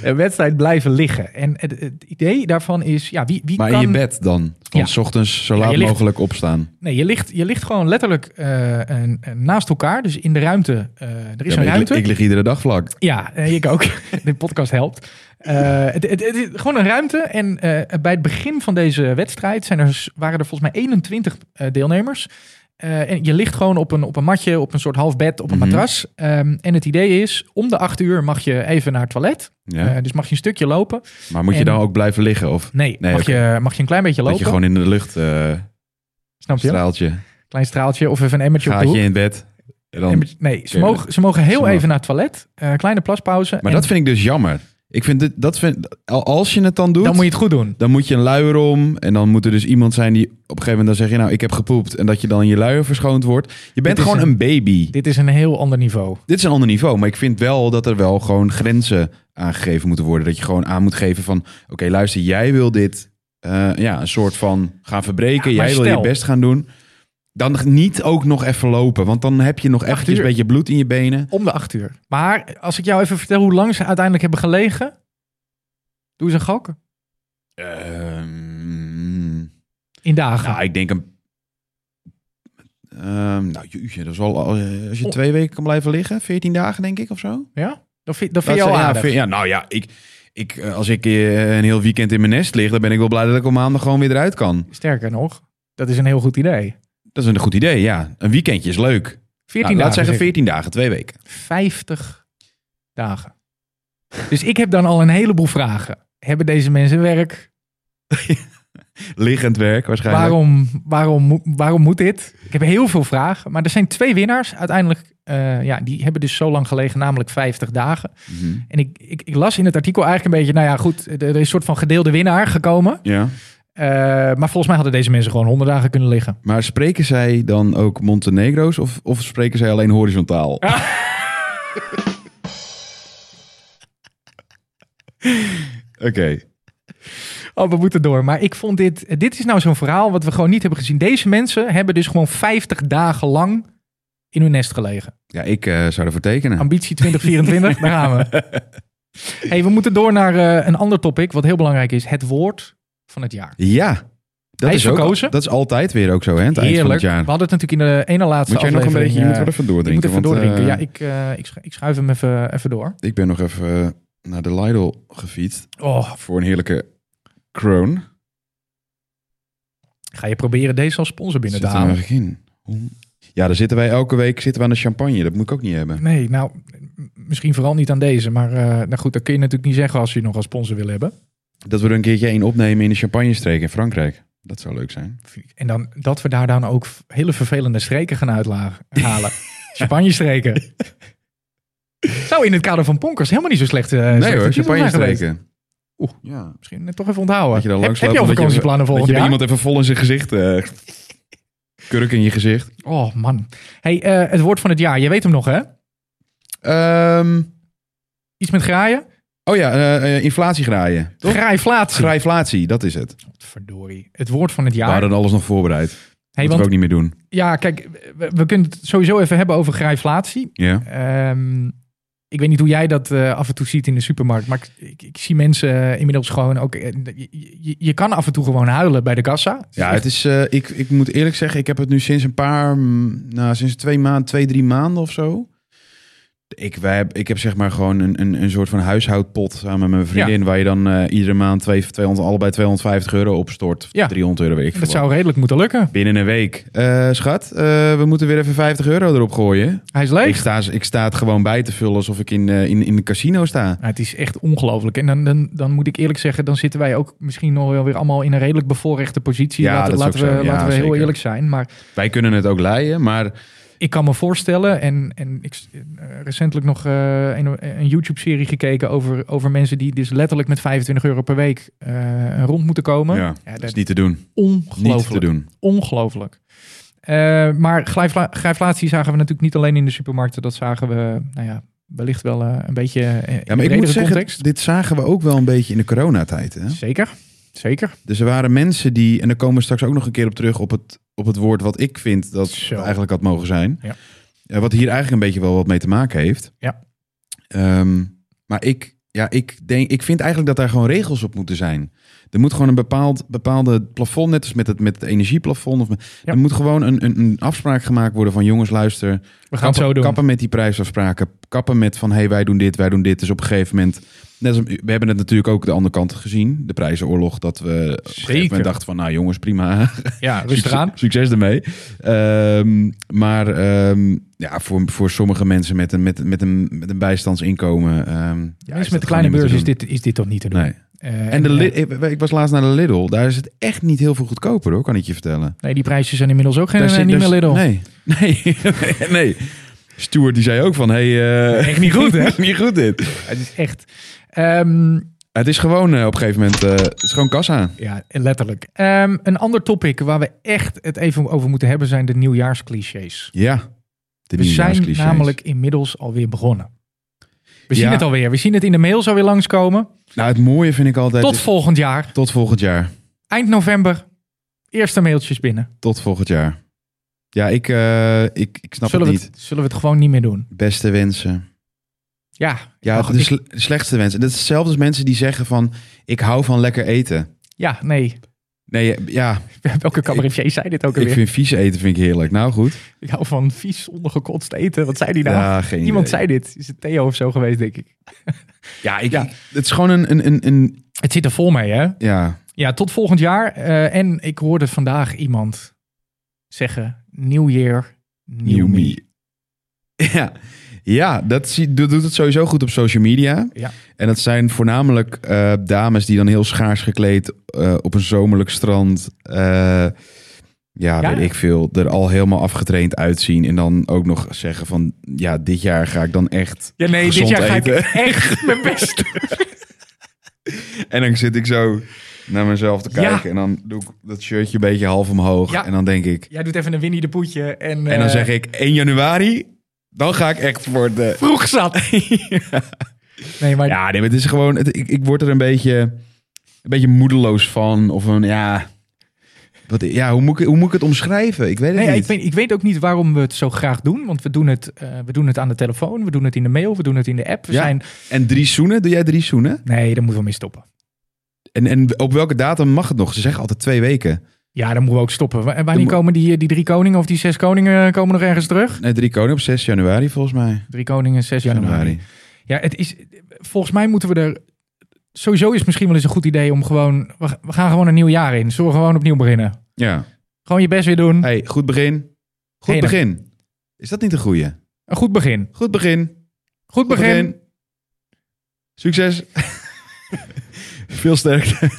een wedstrijd blijven liggen. En het, het idee daarvan is, ja, wie, wie Maar kan... in je bed dan. Van Ja. s ochtends zo Ja, laat je ligt- mogelijk opstaan. Nee, je ligt, je ligt gewoon letterlijk eh, een- een naast elkaar. Dus in de ruimte. eh, er is Ja, een maar ik, ruimte. ik lig iedere dag vlak. Ja, eh, ik ook. de podcast helpt. Eh, het, het, het is gewoon een ruimte. En eh, bij het begin van deze wedstrijd zijn er, waren er volgens mij 21 eh, deelnemers. Eh, en je ligt gewoon op een, op een matje, op een soort half bed, op een Mhm. matras. Ehm, en het idee is, om de acht uur mag je even naar het toilet. Ja. Eh, dus mag je een stukje lopen? maar moet je en- dan ook blijven liggen? Of Nee, Nee, mag, oké. je, mag je een klein beetje dat lopen? je gewoon in de lucht... eh, Snap je? straaltje. Klein straaltje of even een emmertje op de Gaatje hoek. in het bed. En dan... Emmertje- nee, ze Oké, mogen, ze mogen heel snap. even naar het toilet. Eh, kleine plaspauze. Maar en dat vind ik dus jammer. Ik vind dit, dat vind, al- als je het dan doet, dan moet je het goed doen. je een luier om. En dan moet er dus iemand zijn die op een gegeven moment dan zeg je nou, ik heb gepoept. En dat je dan je luier verschoond wordt. Je bent is gewoon een- een, baby. Dit is een heel ander niveau. Dit is een ander niveau. Maar ik vind wel dat er wel gewoon grenzen aangegeven moeten worden. Dat je gewoon aan moet geven van, oké luister, jij wil dit eh, ja, een soort van gaan verbreken. Ja, maar jij wil stel- je best gaan doen. Dan niet ook nog even lopen. Want dan heb je nog eventjes uur. een beetje bloed in je benen. Om de acht uur. Maar als ik jou even vertel hoe lang ze uiteindelijk hebben gelegen. Doe eens een gok. Ehm, In dagen. Nou, ik denk een. Ehm, nou, jeetje, dat is wel. eh, Als je Oh. twee weken kan blijven liggen, 14 dagen denk ik of zo. ja? Dat vind, dat vind je Dat al is- ja, aardig. veer- ja, nou ja, ik, ik, eh, als ik eh, een heel weekend in mijn nest lig, dan ben ik wel blij dat ik op maandag gewoon weer eruit kan. Sterker nog, dat is een heel goed idee. Dat is een goed idee, ja. Een weekendje is leuk. 14 nou, dagen. laat zeggen zeg ik. 14 dagen, twee weken. 50 dagen. Dus ik heb dan al een heleboel vragen. Hebben deze mensen werk? Liggend werk waarschijnlijk. Waarom, waarom, moet- waarom moet dit? Ik heb heel veel vragen. Maar er zijn twee winnaars. Uiteindelijk, eh, ja, die hebben dus zo lang gelegen, namelijk 50 dagen. Mhm. En ik, ik, ik las in het artikel eigenlijk een beetje, nou ja, goed, er er is een soort van gedeelde winnaar gekomen. Ja. Eh, maar volgens mij hadden deze mensen gewoon 100 dagen kunnen liggen. Maar spreken zij dan ook Montenegro's of, of spreken zij alleen horizontaal? Oké. Oh, we moeten door. Maar ik vond dit, dit is nou zo'n verhaal wat we gewoon niet hebben gezien. Deze mensen hebben dus gewoon 50 dagen lang in hun nest gelegen. Ja, ik eh, zou ervoor tekenen. Ambitie 2024, daar gaan we. Hey, we moeten door naar eh, een ander topic, wat heel belangrijk is. Het woord van het jaar. Ja, dat Hij is ook, verkozen. Dat is altijd weer ook zo, hè? Het eind van het Heerlijk. We jaar. hadden het natuurlijk in de ene laatste Moet jij nog een beetje, je moet wel even ik eh, moet even doordrinken. want, eh, doordrinken. ja, ik, eh, ik, schu- ik schuif hem even, even door. ik ben nog even eh, naar de Lidl gefietst Oh, voor een heerlijke kroon. ga je proberen deze als sponsor binnen Zit te er halen? eigenlijk in. Ja, daar zitten wij elke week zitten we aan de champagne. Dat moet ik ook niet hebben. Nee, nou, m- misschien vooral niet aan deze. Maar eh, nou goed, dat kun je natuurlijk niet zeggen als je nog als sponsor wil hebben. Dat we er een keertje één opnemen in de champagnestreek in Frankrijk. Dat zou leuk zijn. En dan, dat we daar dan ook v- hele vervelende streken gaan uithalen. Spanje-streken. Zou in het kader van Ponkers helemaal niet zo slecht eh, nee slechte hoor, titel zijn geweest. champagne-streken. Oeh. Ja. Misschien eh, toch even onthouden. Dat je daar heb, langs heb loopt je al en dat je- vakantieplannen Dat volgend je jaar? iemand even vol in zijn gezicht... eh, kurk in je gezicht. Oh man. Hey, eh, het woord van het jaar. Je weet hem nog hè? Ehm, Iets met graaien? oh ja, eh, eh, inflatie graaien. Toch? Graaiflatie. Schrijflatie, dat is het. Verdorie. Het woord van het We jaar. hadden alles nog voorbereid. hey, dat we want, ook niet meer doen. ja, kijk, we, we kunnen het sowieso even hebben over graaiflatie. Ja. Ehm, Ik weet niet hoe jij dat eh, af en toe ziet in de supermarkt, maar ik, ik, ik zie mensen eh, inmiddels gewoon ook. eh, je, je, je kan af en toe gewoon huilen bij de kassa. Het is Ja, echt- het is, eh, ik, ik moet eerlijk zeggen, ik heb het nu sinds een paar, mm, nou, sinds twee maanden, twee, drie maanden of zo. Ik, wij, heb- ik heb zeg maar gewoon een, een, een soort van huishoudpot samen met mijn vriendin, waar je dan eh, iedere maand twee, 200, allebei 250 euro opstort. Ja. 300 euro, weet ik dat veel wat. zou redelijk moeten lukken. Binnen een week. Eh, schat, eh, we moeten weer even 50 euro erop gooien. Hij is Ik leeg. sta, ik sta het gewoon bij te vullen alsof ik in, eh, in, in een casino sta. Ja, het is echt ongelooflijk. En dan, dan, dan moet ik eerlijk zeggen, dan zitten wij ook misschien nog wel weer allemaal in een redelijk bevoorrechte positie. Ja, laten dat is laten ook we, zo. Ja, laten we heel zeker. eerlijk zijn. Maar Wij kunnen het ook leien, maar ik kan me voorstellen, en, en ik s- eh, recentelijk nog eh, een, een YouTube-serie gekeken over, over mensen die dus letterlijk met 25 euro per week eh, rond moeten komen. ja, Ja, dat is dat niet te doen. Niet te ongelooflijk. doen. Ongelooflijk. Eh, maar grijfla- grijflatie zagen we natuurlijk niet alleen in de supermarkten. Dat zagen we, nou ja, wellicht wel eh, een beetje eh, in Ja, de maar ik moet bredere zeggen, context. dit zagen we ook wel een beetje in de coronatijd. Hè? Zeker, zeker. Dus er waren mensen die, en daar komen we straks ook nog een keer op terug, op het, op het woord wat ik vind dat Zo. eigenlijk had mogen zijn. Ja. Eh, wat hier eigenlijk een beetje wel wat mee te maken heeft. Ja. Ehm, maar ik, ja, ik, denk, ik vind eigenlijk dat daar gewoon regels op moeten zijn. Er moet gewoon een bepaald bepaalde plafond, net als met het, met het energieplafond. Of, met- Ja. Er moet gewoon een, een, een afspraak gemaakt worden van jongens, luister, We gaan het kappen, zo doen. Kappen met die prijsafspraken. Kappen met van, hé, hey, wij doen dit, wij doen dit. Dus op een gegeven moment... Net als, we hebben het natuurlijk ook de andere kant gezien. De prijzenoorlog. Dat we op een gegeven Zeker. moment dachten van, nou jongens, prima. Ja, rustig aan. Succes ermee. Ehm, maar ehm, ja, voor, voor sommige mensen met een, met, met een, met een bijstandsinkomen... ehm, ja, is Mensen met dat de kleine gewoon niet meer beurs te is doen. dit, is dit toch niet te doen. Nee. Eh, En de, eh, Lid- ik, ik was laatst naar de Lidl. Daar is het echt niet heel veel goedkoper hoor, kan ik je vertellen. nee, die prijzen zijn inmiddels ook geen, Daar eh, zit- niet daar meer zit- Lidl. Nee, nee, nee. nee. Stuart die zei ook van, hey, eh, Echt niet goed, hè? niet goed dit. Het is echt... Ehm, Het is gewoon eh, op een gegeven moment, eh, het is gewoon kassa. ja, letterlijk. Ehm, een ander topic waar we echt het even over moeten hebben zijn de nieuwjaarsclichés. Ja. De We zijn nieuwjaarsclichés. namelijk inmiddels alweer begonnen. We zien Ja. het alweer. We zien het in de mail zo weer langskomen. Nou, het mooie vind ik altijd... Tot is- volgend jaar. tot volgend jaar. Eind november. Eerste mailtjes binnen. Tot volgend jaar. Ja, ik, eh, ik, ik snap Zullen we, het niet. het, zullen we het gewoon niet meer doen? Beste wensen. Ja. Ja, Ach, de ik- sle- slechtste wensen. Dat is hetzelfde als mensen die zeggen van, ik hou van lekker eten. ja, nee. Nee, ja, Welke cabaretier zei dit ook ik alweer? vind vies eten vind ik heerlijk. Nou, goed. Ik hou van vies ondergekotst eten. Wat zei die nou? Ja, geen Iemand idee. zei dit. Is het Theo of zo geweest, denk ik. Ja, ik, het is gewoon een, een, een, een- Het zit er vol mee, hè? ja, Ja, tot volgend jaar. Eh, en ik hoorde vandaag iemand zeggen... New year, new, new me. me. Ja, ja dat, zie, dat doet het sowieso goed op social media. Ja. En dat zijn voornamelijk eh, dames die dan heel schaars gekleed eh, op een zomerlijk strand... eh, ja, Ja. weet ik veel. Er al helemaal afgetraind uitzien. En dan ook nog zeggen van... Ja, dit jaar ga ik dan echt... Ja, nee, gezond dit jaar ga ik eten. echt mijn best doen. En dan zit ik zo naar mezelf te Ja. kijken. En dan doe ik dat shirtje een beetje half omhoog. Ja. En dan denk ik... Jij doet even een Winnie de Poetje. En, eh, En dan zeg ik 1 januari... Dan ga ik echt voor de... Vroeg zat. Nee, maar Ja, nee, maar het is gewoon. Het, ik, ik word er een beetje, een beetje moedeloos van. Of een ja. Wat, ja, hoe moet, ik, hoe moet ik het omschrijven? Ik weet het nee, ja, niet. ik, weet, ik weet ook niet waarom we het zo graag doen. Want we doen het, eh, we doen het aan de telefoon, we doen het in de mail, we doen het in de app. We Ja. zijn... En drie zoenen? Doe jij drie zoenen? Nee, daar moeten we mee stoppen. En, en op welke datum mag het nog? Ze zeggen altijd twee weken. Ja, dan moeten we ook stoppen. Wa- En wanneer moet- komen die, die drie koningen of die zes koningen eh, komen nog ergens terug? Nee, drie koningen op 6 januari volgens mij. Drie koningen, 6 januari. Ja, het is, volgens mij moeten we er... Sowieso is het misschien wel eens een goed idee om gewoon... We, we gaan gewoon een nieuw jaar in. Zullen we gewoon opnieuw beginnen? Ja. Gewoon je best weer doen. Hey, goed begin. Goed Hey, dan. begin. Is dat niet een goeie? Een goed begin. Goed begin. Goed Goed begin. begin. Succes. Veel sterkte.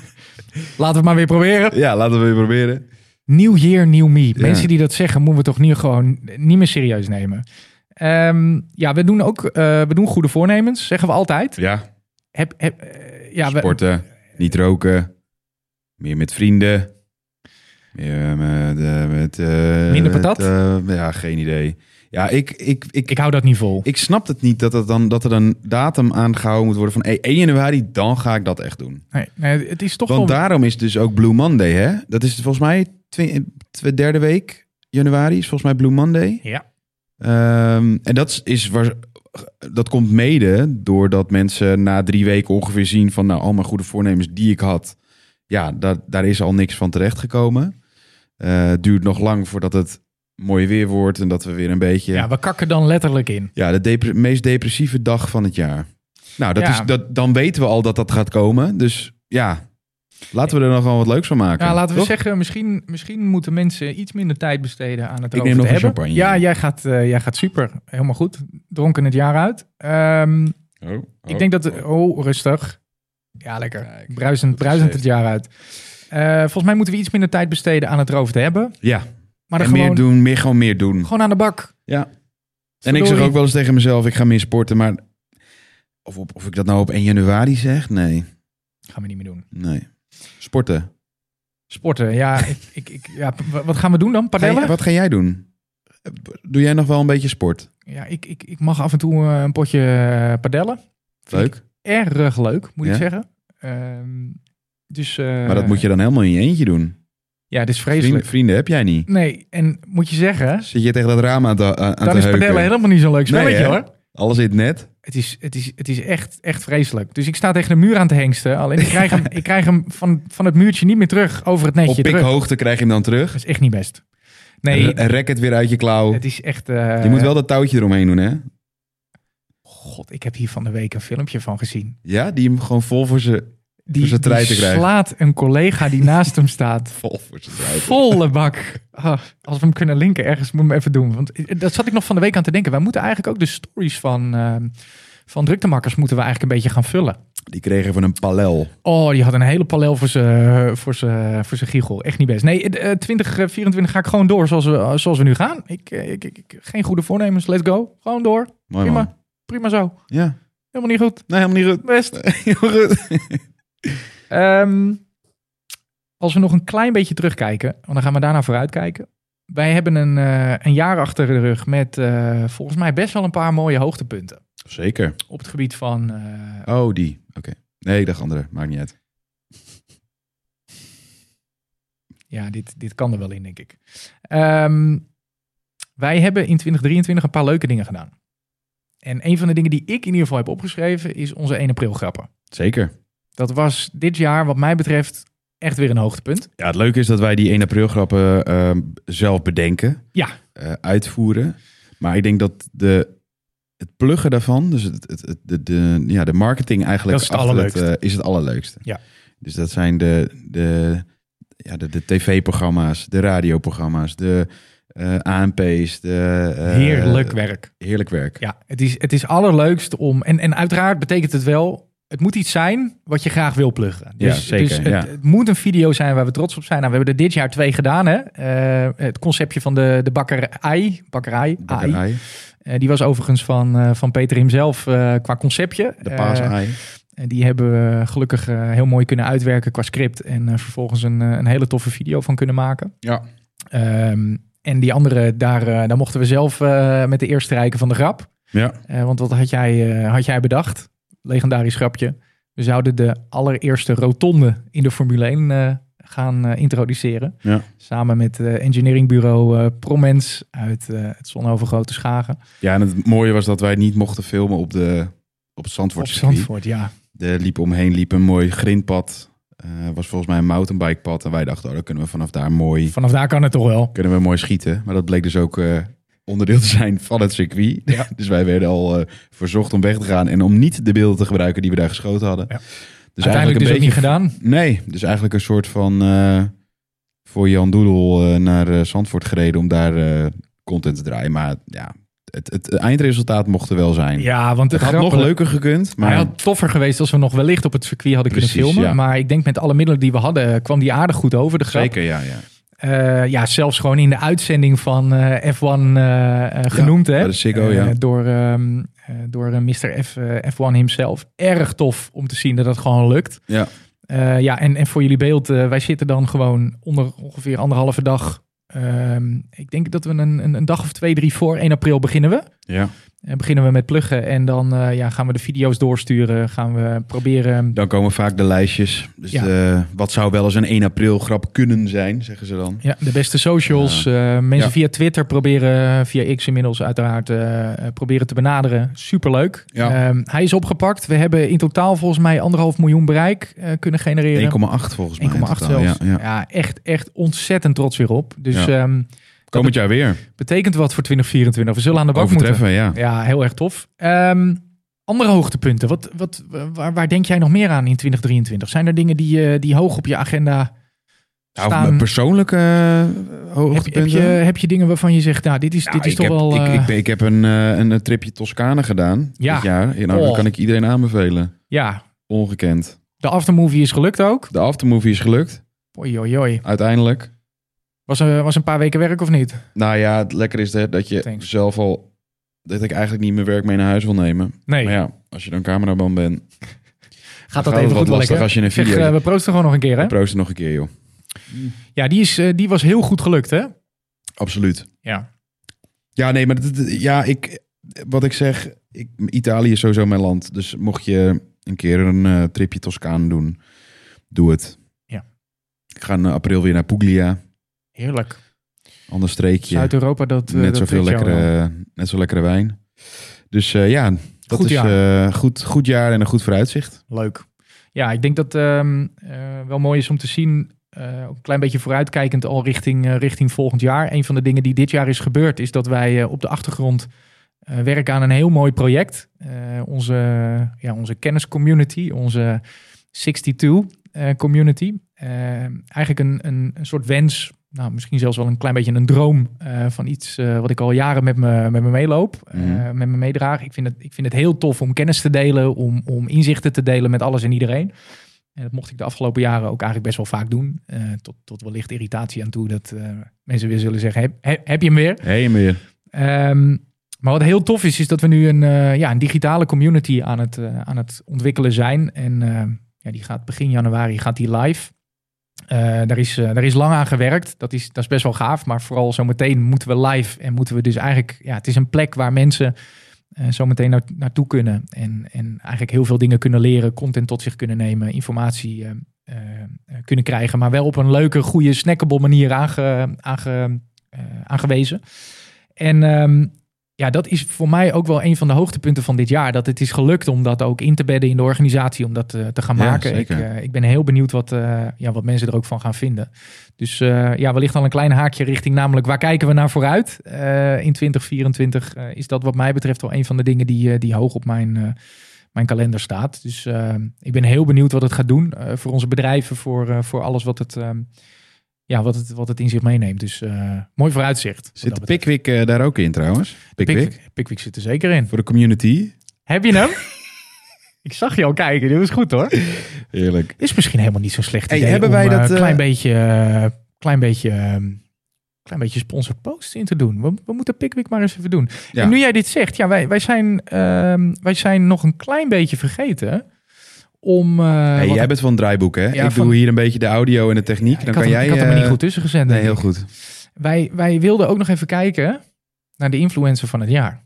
Laten we het maar weer proberen. Ja, laten we weer proberen. New Year, New Me. Ja. Mensen die dat zeggen, moeten we toch niet, gewoon niet meer serieus nemen. Ehm, ja, we doen ook eh, we doen goede voornemens, zeggen we altijd. Ja. Heb, heb, eh, ja, we- Sporten, niet roken, meer met vrienden. Meer met, eh, met, eh, Minder patat? met, eh, ja, geen idee. Ja, ik, ik, ik, ik ik, hou dat niet vol. snap het niet dat, het dan, dat er een datum aangehouden moet worden van hey, 1 januari, dan ga ik dat echt doen. Nee, nee, het is toch Want wel... daarom is dus ook Blue Monday, hè? Dat is volgens mij twi- twe- derde week januari, is volgens mij Blue Monday. Ja, Ehm, en dat is waar, dat komt mede doordat mensen na drie weken ongeveer zien van... nou, al mijn goede voornemens die ik had, ja, daar, daar is al niks van terechtgekomen. Eh, Het duurt nog lang voordat het mooi weer wordt en dat we weer een beetje... Ja, we kakken dan letterlijk in. Ja, de depre- meest depressieve dag van het jaar. Nou, dat Ja. is, dat, dan weten we al dat dat gaat komen. Dus ja, laten we er nog gewoon wat leuks van maken. Ja, laten we toch? zeggen, misschien, misschien moeten mensen iets minder tijd besteden aan het Ik erover neem nog te een hebben. champagne. Ja, jij gaat, eh, jij gaat super. Helemaal goed. Dronken het jaar uit. Ehm, Oh. ik denk dat... de- Oh, rustig. Ja, lekker. Kijk, bruisend goed bruisend het gezegd. jaar uit. Eh, volgens mij moeten we iets minder tijd besteden aan het erover te hebben. Ja, Maar en dan gewoon, meer doen, meer gewoon meer doen. gewoon aan de bak. Ja. En ik zeg Verdorie. ook wel eens tegen mezelf, ik ga meer sporten, maar... Of, op, of ik dat nou op 1 januari zeg? Nee, Gaan we niet meer doen. nee. Sporten. Sporten, ja. ik, ik, ik- ja p- wat gaan we doen dan? Ga Padellen? jij- wat ga jij doen? Doe jij nog wel een beetje sport? Ja, ik, ik, ik mag af en toe eh, een potje eh, padellen. Vind Leuk. ik Erg leuk, moet ik Ja? zeggen. Ehm, dus, eh, Maar dat moet je dan helemaal in je eentje doen. Ja, het is Vrienden, vreselijk. vrienden heb jij niet. Nee, en moet je zeggen, Zit je tegen dat raam aan te, aan dan te is heuken. padellen helemaal niet zo'n leuk Nee, spelletje hè? hoor. Alles in het net. Het is, het is, het is echt, echt vreselijk. Dus ik sta tegen de muur aan te hengsten. Alleen ik krijg hem, ik krijg hem van, van het muurtje niet meer terug over het Op netje terug. pikhoogte krijg je hem dan terug. Dat is echt niet best. Nee. Nee, rek het weer uit je klauw. het is echt... eh, Je moet wel dat touwtje eromheen doen, hè? God, ik heb hier van de week een filmpje van gezien. Ja, die hem gewoon vol voor zijn... Die, Om zijn die trein te krijgen. slaat een collega die naast hem staat. Vol voor zijn Volle bak. Ah, als we hem kunnen linken ergens, moet ik hem even doen. Want dat zat ik nog van de week aan te denken. Wij moeten eigenlijk ook de stories van, ehm, van druktemakkers moeten we eigenlijk een beetje gaan vullen. Die kreeg even een palel. Oh, die had een hele palel voor zijn voor z'n- voor z'n giegel. Echt niet best. Nee, eh, eh, 2024 ga ik gewoon door zoals we, eh, zoals we nu gaan. Ik, eh, ik, ik, ik- geen goede voornemens. Let's go. Gewoon door. Mooi man. Prima. Prima zo. Ja. Helemaal niet goed. Nee, helemaal niet goed. Best. Heel goed. Ehm, als we nog een klein beetje terugkijken, want dan gaan we daarna vooruitkijken. Wij hebben een, eh, een jaar achter de rug met eh, volgens mij best wel een paar mooie hoogtepunten. Zeker. Op het gebied van. eh, Oh, die. Oké. Nee, ik dacht andere. Maakt niet uit. ja, dit, dit kan er wel in, denk ik. Ehm, wij hebben in 2023 een paar leuke dingen gedaan. En een van de dingen die ik in ieder geval heb opgeschreven is onze 1 april grappen. Zeker. Dat was dit jaar, wat mij betreft, echt weer een hoogtepunt. Ja, het leuke is dat wij die 1 april grappen ehm, zelf bedenken. Ja. Eh, uitvoeren. Maar ik denk dat de, het pluggen daarvan, dus het, het, het- de, de, ja, de marketing eigenlijk... Dat is het achter allerleukste. eh, is het allerleukste. Ja. Dus dat zijn de, de, ja, de, de tv-programma's, de radioprogramma's, de eh, ANP's. De, eh, Heerlijk werk. Heerlijk werk. Ja, het is, het is allerleukst om. En, en uiteraard betekent het wel. Het moet iets zijn wat je graag wil pluggen. Dus- Ja, zeker, het, ja. het moet een video zijn waar we trots op zijn. Nou, we hebben er dit jaar twee gedaan. Hè? Eh, het conceptje van de, de bakkerij. Bakkerij. AI. Bakkerij, Eh, die was overigens van, eh, van Peter hemzelf eh, qua conceptje. de Eh, paasei. en die hebben we gelukkig eh, heel mooi kunnen uitwerken qua script. En eh, vervolgens een, eh, een hele toffe video van kunnen maken. Ja. Ehm, en die andere, daar, eh, daar mochten we zelf eh, met de eerste rijken van de grap. ja. Eh, want wat had jij, eh, had jij bedacht? Legendarisch grapje. We zouden de allereerste rotonde in de Formule 1 eh, gaan eh, introduceren. Ja. Samen met eh, engineeringbureau eh, Promens uit eh, het Zonhoven-Grote Schagen. Ja, en het mooie was dat wij niet mochten filmen op, de, op het Op Zandvoort. Zandvoort, ja. Er liep omheen, liep een mooi grindpad. Eh was volgens mij een mountainbikepad. En wij dachten, oh, dan kunnen we vanaf daar mooi, Vanaf daar kan het toch wel. kunnen we mooi schieten. Maar dat bleek dus ook eh, onderdeel te zijn van het circuit. Ja. dus wij werden al eh, verzocht om weg te gaan. En om niet de beelden te gebruiken die we daar geschoten hadden. Ja. Dus Uiteindelijk dus ook niet beetje... gedaan. Nee, dus eigenlijk een soort van... eh, voor Jan Doedel eh, naar eh, Zandvoort gereden om daar eh, content te draaien. Maar ja, het, het eindresultaat mocht er wel zijn. Ja, want Het het, had nog grappige- leuker gekund, maar Hij had toffer geweest als we nog wellicht op het circuit hadden Precies, kunnen filmen. ja. Maar ik denk met alle middelen die we hadden eh, kwam die aardig goed over de grap. zeker, ja, ja. Eh, ja, zelfs gewoon in de uitzending van eh, F1 eh, eh, genoemd. hè? bij de Ziggo, oh, ja. Eh, door ehm, eh, door eh, Mr. F, eh, F1 himself. Erg tof om te zien dat dat gewoon lukt. Ja. Eh, ja, en, en voor jullie beeld, eh, wij zitten dan gewoon onder ongeveer anderhalve dag. Ehm, ik denk dat we een, een, een dag of twee, drie voor 1 april beginnen we. ja. En beginnen we met pluggen en dan eh, ja, gaan we de video's doorsturen. Gaan we proberen. Dan komen vaak de lijstjes. Dus Ja. de- wat zou wel eens een 1 april grap kunnen zijn, zeggen ze dan. Ja, de beste socials. eh, mensen Ja. via Twitter proberen, via X inmiddels uiteraard, eh, eh, proberen te benaderen. Superleuk. Ja. Ehm, hij is opgepakt. We hebben in totaal volgens mij anderhalf miljoen bereik eh, kunnen 1,8 genereren. 1,8 volgens mij. in totaal. zelfs. Ja, ja. echt, echt ontzettend trots weer op. Dus Ja. ehm, Komend jaar weer. betekent wat voor 2024. We zullen aan de bak moeten. Overtreffen, ja. Ja, heel erg tof. Ehm, andere hoogtepunten. Wat, wat, waar, waar denk jij nog meer aan in 2023? Zijn er dingen die, eh, die hoog op je agenda Nou, staan? mijn persoonlijke eh, heb, heb, je, hoogtepunten. heb je dingen waarvan je zegt, nou, dit is, Nou, dit is ik toch heb, wel... Ik, eh, ik, ben- ik heb een, eh, een eh, tripje Toscane gedaan Ja. dit jaar. Ja, nou, dat Oh. kan ik iedereen aanbevelen. ja, Ongekend. de aftermovie is gelukt ook. De aftermovie is gelukt, Oei, oei, oei. uiteindelijk. Was, een- was een paar weken werk of niet? Nou ja, het lekker is dat- dat je Thanks. zelf al... Dat ik eigenlijk niet mijn werk mee naar huis wil nemen. Nee, Maar ja, als je dan cameraman bent, gaat gaat dat het even wat goed wel lastig lekker. als je een Zeg, video... eh, we proosten gewoon nog een keer, hè? Proost nog een keer, joh. Ja, die, is, eh, die was heel goed gelukt, hè? Absoluut. Ja. Ja, nee, maar dat- dat- ja, ik, wat ik zeg, ik, Italië is sowieso mijn land. Dus mocht je een keer een eh, tripje Toscaan doen, doe het. Ja. Ik ga in april weer naar Puglia, Heerlijk. ander streekje. Zuid-Europa, dat... eh, net, dat zoveel trekt jou wel. lekkere, net zo lekkere wijn. Dus eh, ja, dat Goed is eh, goed, goed jaar en een goed vooruitzicht. Leuk. Ja, ik denk dat ehm, eh, wel mooi is om te zien. eh, ook een klein beetje vooruitkijkend al richting, eh, richting volgend jaar. Een van de dingen die dit jaar is gebeurd, is dat wij eh, op de achtergrond eh, werken aan een heel mooi project. Eh, onze, ja, onze kenniscommunity, onze 62 eh, community. Eh, eigenlijk een, een, een soort wens, nou, misschien zelfs wel een klein beetje een droom eh, van iets eh, wat ik al jaren met me, met me meeloop, eh, Mhm. met me meedraag. Ik vind, het, ik vind het heel tof om kennis te delen, om, om inzichten te delen met alles en iedereen. En dat mocht ik de afgelopen jaren ook eigenlijk best wel vaak doen. Eh, tot, tot wellicht irritatie aan toe dat eh, mensen weer zullen zeggen, heb, heb, heb je hem weer? Heen en weer. Ehm, maar wat heel tof is, is dat we nu een, eh, ja, een digitale community aan het, eh, aan het ontwikkelen zijn. En eh, ja, die gaat begin januari gaat die live. Eh, daar, is, eh, daar is lang aan gewerkt. Dat is, dat is best wel gaaf. Maar vooral zometeen moeten we live. En moeten we dus eigenlijk. Ja, het is een plek waar mensen eh, zometeen naar, naartoe kunnen. En, en eigenlijk heel veel dingen kunnen leren. Content tot zich kunnen nemen. Informatie eh, eh, kunnen krijgen. Maar wel op een leuke, goede, snackable manier aange, aange, eh, aangewezen. En ehm, ja, dat is voor mij ook wel een van de hoogtepunten van dit jaar. Dat het is gelukt om dat ook in te bedden in de organisatie. Om dat eh, te gaan Ja, maken. Ik, zeker. eh, ik ben heel benieuwd wat, eh, ja, wat mensen er ook van gaan vinden. Dus eh, ja, wellicht al een klein haakje richting namelijk waar kijken we naar vooruit. Eh, in 2024 eh, is dat wat mij betreft wel een van de dingen die, eh, die hoog op mijn, eh, mijn kalender staat. Dus eh, ik ben heel benieuwd wat het gaat doen eh, voor onze bedrijven, voor, eh, voor alles wat het, ehm, ja, wat, het, wat het in zich meeneemt. Dus eh, mooi vooruitzicht. wat dat Zit betreft. Pickwick eh, daar ook in trouwens? Pickwick. Pickwick, Pickwick zit er zeker in. Voor de community. Heb je hem? ik zag je al kijken, dit was goed hoor. Heerlijk. Is misschien helemaal niet zo'n slecht Hey, idee hebben om wij eh, dat, eh, klein beetje, eh, klein beetje, eh, klein beetje sponsored posts in te doen. We, we moeten Pickwick maar eens even doen. Ja. En nu jij dit zegt, ja, wij, wij, zijn, ehm, wij zijn nog een klein beetje vergeten om. eh, Hey, wat- jij bent van het draaiboek, hè? Ja, ik van- doe hier een beetje de audio en de ik techniek. had, dan kan hem, jij. ik had hem er eh, niet goed tussen gezet. Nee, denk heel ik. goed. Wij, wij wilden ook nog even kijken naar de influencer van het jaar.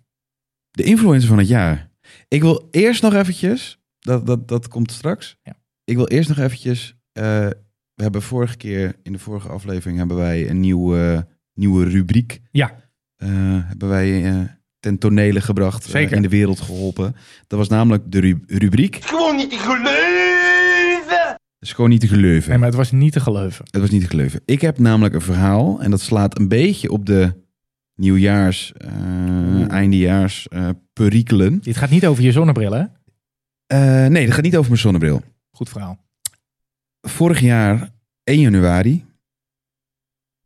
De influencer van het jaar. Ik wil eerst nog eventjes. Dat, dat, dat komt straks. Ja. Ik wil eerst nog eventjes. eh, we hebben vorige keer in de vorige aflevering hebben wij een nieuwe, nieuwe rubriek. Ja. eh, hebben wij eh ten tonele gebracht. eh, Zeker. in de wereld geholpen. Dat was namelijk de ru- rubriek. Gewoon niet te geloven! Dat is gewoon niet te geloven. Nee, maar het was niet te geloven. Het was niet te geloven. Ik heb namelijk een verhaal en dat slaat een beetje op de nieuwjaars, eh, eindejaars eh, perikelen. Dit gaat niet over je zonnebril, hè? Eh, nee, dat gaat niet over mijn zonnebril. Goed verhaal. Vorig jaar 1 januari,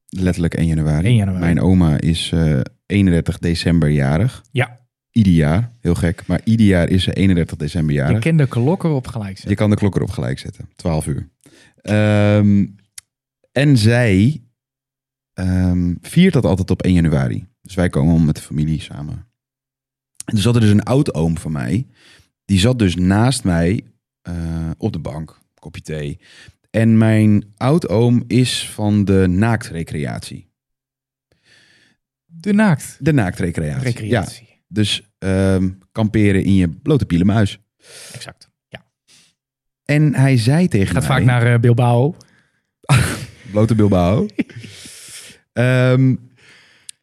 letterlijk 1 januari. 1 januari. Mijn oma is eh, 31 december jarig. Ja. Ieder jaar, heel gek. Maar ieder jaar is ze 31 december jarig. Je kent de klokken op gelijk. Je kan de klok erop gelijk zetten. 12 uur. Ehm, en zij ehm, viert dat altijd op 1 januari. Dus wij komen om met de familie samen. En er zat er dus een oud oom van mij. Die zat dus naast mij eh, op de bank. Kopje thee. En mijn oud oom is van de naaktrecreatie. De naakt. De naaktrecreatie. Ja, Recreatie. dus ehm, kamperen in je blote pielenmuis. Exact. En hij zei tegen Gaat mij... vaak naar eh, Bilbao. Blote Bilbao. Ehm,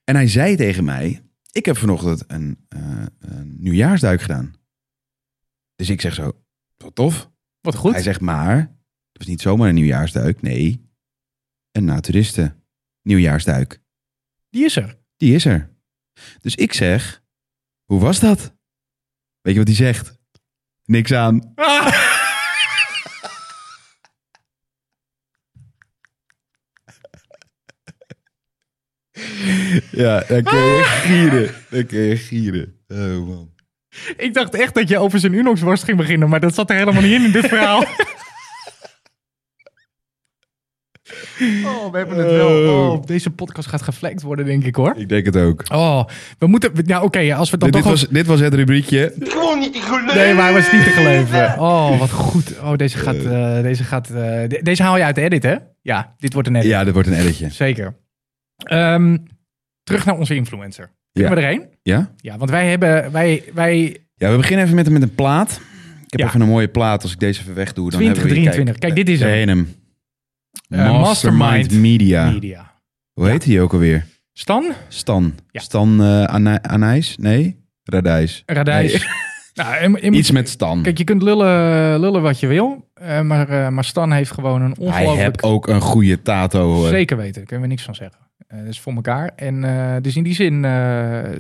en hij zei tegen mij: Ik heb vanochtend een, eh, een nieuwjaarsduik gedaan. Dus ik zeg zo: Wat tof. Wat goed. Hij zegt: Maar het was niet zomaar een nieuwjaarsduik. Nee, een naturisten nieuwjaarsduik. Die is er. Die is er. Dus ik zeg: Hoe was dat? Weet je wat hij zegt? Niks aan. Ah, Ja, dan kun je gieren. Dan kun je gieren. Oh man. Ik dacht echt dat je over zijn Unox-worst ging beginnen, maar dat zat er helemaal niet in in dit verhaal. Oh, we hebben het wel. Oh, deze podcast gaat geflekt worden, denk ik hoor. Ik denk het ook. Oh, we moeten. Nou, oké, ja, als we dan Dit, dit toch. was, dit was het rubriekje. Gewoon niet te geloven. Nee, maar hij was niet te geloven. Oh, wat goed. Oh, deze gaat. eh, deze, gaat eh, de- deze haal je uit de edit, hè? Ja, dit wordt een edit. Ja, dit wordt een editje. Zeker. Ehm, terug naar onze influencer. Kunnen Ja. we erheen? Ja? Ja, want wij hebben. Wij, wij Ja, we beginnen even met, met een plaat. Ik heb Ja. even een mooie plaat. Als ik deze even wegdoe, dan 20, hebben we... hier- 23. Kijk, dit is hem. Ene hem. Eh, Mastermind, Mastermind Media. media. Hoe heet die ook alweer? Stan, Stan. Ja. Stan eh, Ana- Anijs? Nee? Radijs. Radijs. Nee. Nou, je moet- je moet- Iets met Stan. Kijk, je kunt lullen, lullen wat je wil. eh, maar, eh, maar Stan heeft gewoon een Hij heeft ongelooflijk... ook een goede tato. hoor. Zeker weten, daar kunnen we niks van zeggen. Eh, dat is voor elkaar. En eh, dus in die zin, eh, eh,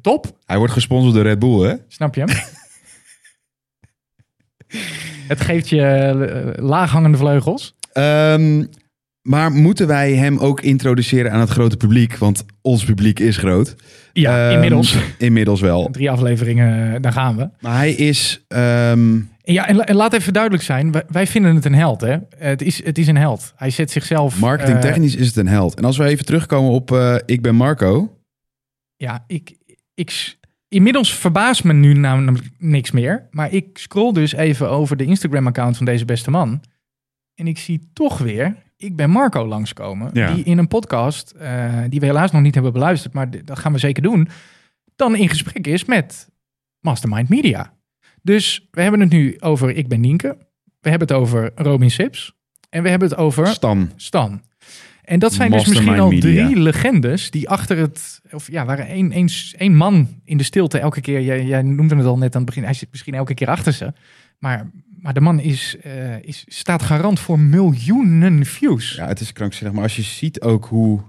top. Hij wordt gesponsord door Red Bull, hè? Snap je hem? Het geeft je eh, laaghangende vleugels. Ehm, maar moeten wij hem ook introduceren aan het grote publiek? Want ons publiek is groot. Ja, Ehm, inmiddels. Inmiddels wel. Drie afleveringen, eh, daar gaan we. Maar hij is... ehm, En ja, en, la- en laat even duidelijk zijn. Wij, wij vinden het een held, hè? Het is, het is een held. Hij zet zichzelf... eh, marketingtechnisch is het een held. En als we even terugkomen op eh, Ik ben Marco... Ja, ik, ik, s- inmiddels verbaast me nu namelijk niks meer. Maar ik scroll dus even over de Instagram-account van deze beste man. En ik zie toch weer, ik ben Marco langskomen. Ja. Die in een podcast, eh, die we helaas nog niet hebben beluisterd, maar d- dat gaan we zeker doen. Dan in gesprek is met Mastermind Media. Dus we hebben het nu over Ik ben Nienke. We hebben het over Robin Sips. En we hebben het over Stan. Stan. En dat zijn dus Mastermind misschien al Media. drie legendes die achter het... Of ja, waren één, één, één man in de stilte elke keer. Jij, jij noemde het al net aan het begin. Hij zit misschien elke keer achter ze. Maar, maar de man is, eh, is, staat garant voor miljoenen views. Ja, het is krankzinnig. Maar als je ziet ook hoe...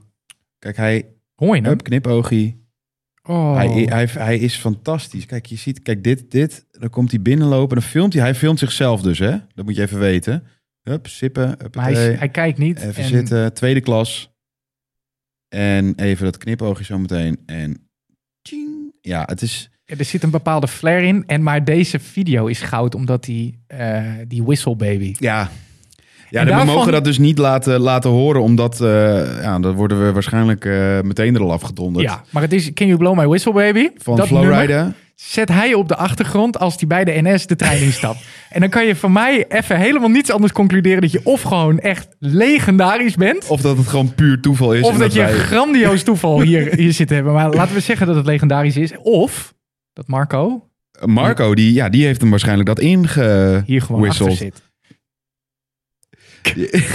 Kijk, hij... Hoor je hem? Hup, knipoogie. Oh. Hij, hij, hij is fantastisch. Kijk, je ziet, kijk, dit, dit. Dan komt hij binnenlopen, dan filmt hij. Hij filmt zichzelf dus, hè? Dat moet je even weten. Hup, sippen, maar hij, huppatee. hij kijkt niet. eh, Even en- zitten, tweede klas. En even dat knipoogje zo meteen. En tjing. Ja, het is... Er zit een bepaalde flair in. En maar deze video is goud omdat die, eh die whistle baby. Ja, ja En we daarvan- mogen dat dus niet laten, laten horen, omdat eh, ja, dan worden we waarschijnlijk eh, meteen er al afgedonderd. Ja, maar het is Can You Blow My Whistle Baby. Van dat nummer. Flowrider. zet hij op de achtergrond als hij bij de NS de trein instapt. en dan kan je van mij even helemaal niets anders concluderen dat je of gewoon echt legendarisch bent. Of dat het gewoon puur toeval is. Of en dat je wij- grandioos toeval hier, hier zit te hebben. Maar laten we zeggen dat het legendarisch is. Of dat Marco Marco, die, ja, die heeft hem waarschijnlijk dat inge... hier gewoon Whistled. achter zit.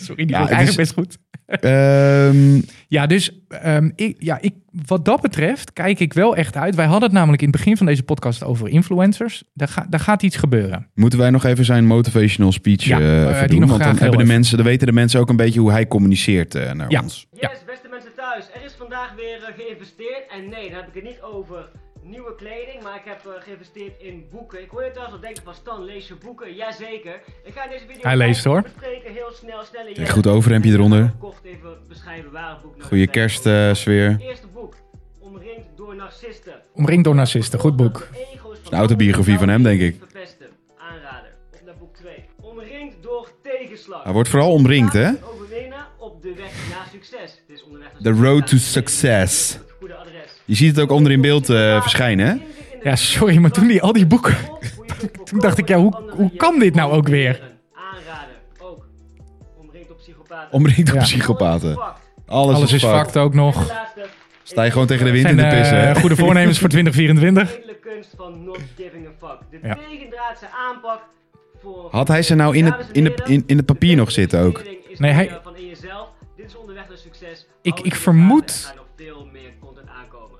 Sorry, die Ja, was het eigenlijk is- best goed. Ehm, Ja, dus ehm, ik, ja, ik, wat dat betreft kijk ik wel echt uit. Wij hadden het namelijk in het begin van deze podcast over influencers. Daar, ga- daar gaat iets gebeuren. Moeten wij nog even zijn motivational speech Ja, eh, eh, even die doen? nog Want graag dan, heel hebben de even. mensen, dan weten de mensen ook een beetje hoe hij communiceert eh, naar Ja. ons. Ja. Yes, beste mensen thuis. Er is vandaag weer eh, geïnvesteerd. En nee, dan heb ik het niet over nieuwe kleding. Maar ik heb eh, geïnvesteerd in boeken. Ik hoor je trouwens al denken van Stan, lees je boeken? Jazeker. Ik ga in deze video Hij leest, hoor. bespreken. Heel snel, snel. Een goed overhemdje eronder. Kort even beschrijven waar het boek nou Goede gaat zijn. kerstsfeer. Het eerste boek. Omringd door narcisten. Omringd door narcisten, goed boek. Een Een autobiografie van hem, denk ik. Verpesten. Aanrader. Op naar boek 2. Omringd door tegenslag. Hij wordt vooral omringd, hè? Overwinnen op de weg naar succes. Het is onderweg naar The road to succes. success. Het goede adres. Je ziet het ook onder in beeld eh, verschijnen, hè? Ja, sorry, maar toen die al die boeken- toen dacht ik, ja, hoe- hoe kan dit nou ook weer? Aanraden. Ook. Omringd op psychopaten. Omringd door Ja. psychopaten. Alles is fucked. Alles, Alles is fucked. fact ook nog. Laatste. Sta je gewoon tegen de wind Zijn in te eh, pissen. hè? goede voornemens voor 2024? edele kunst van not giving a fuck. De Ja. tegendraadse aanpak voor... Had hij ze nou in Dames het, in, en de, heren, in, in het papier de nog zitten ook? investering is Nee, van, hij- eh, Van in jezelf. Dit is onderweg naar succes. Ik- Hou ik het in de vermoed- gaten. Er gaan nog veel meer content aankomen.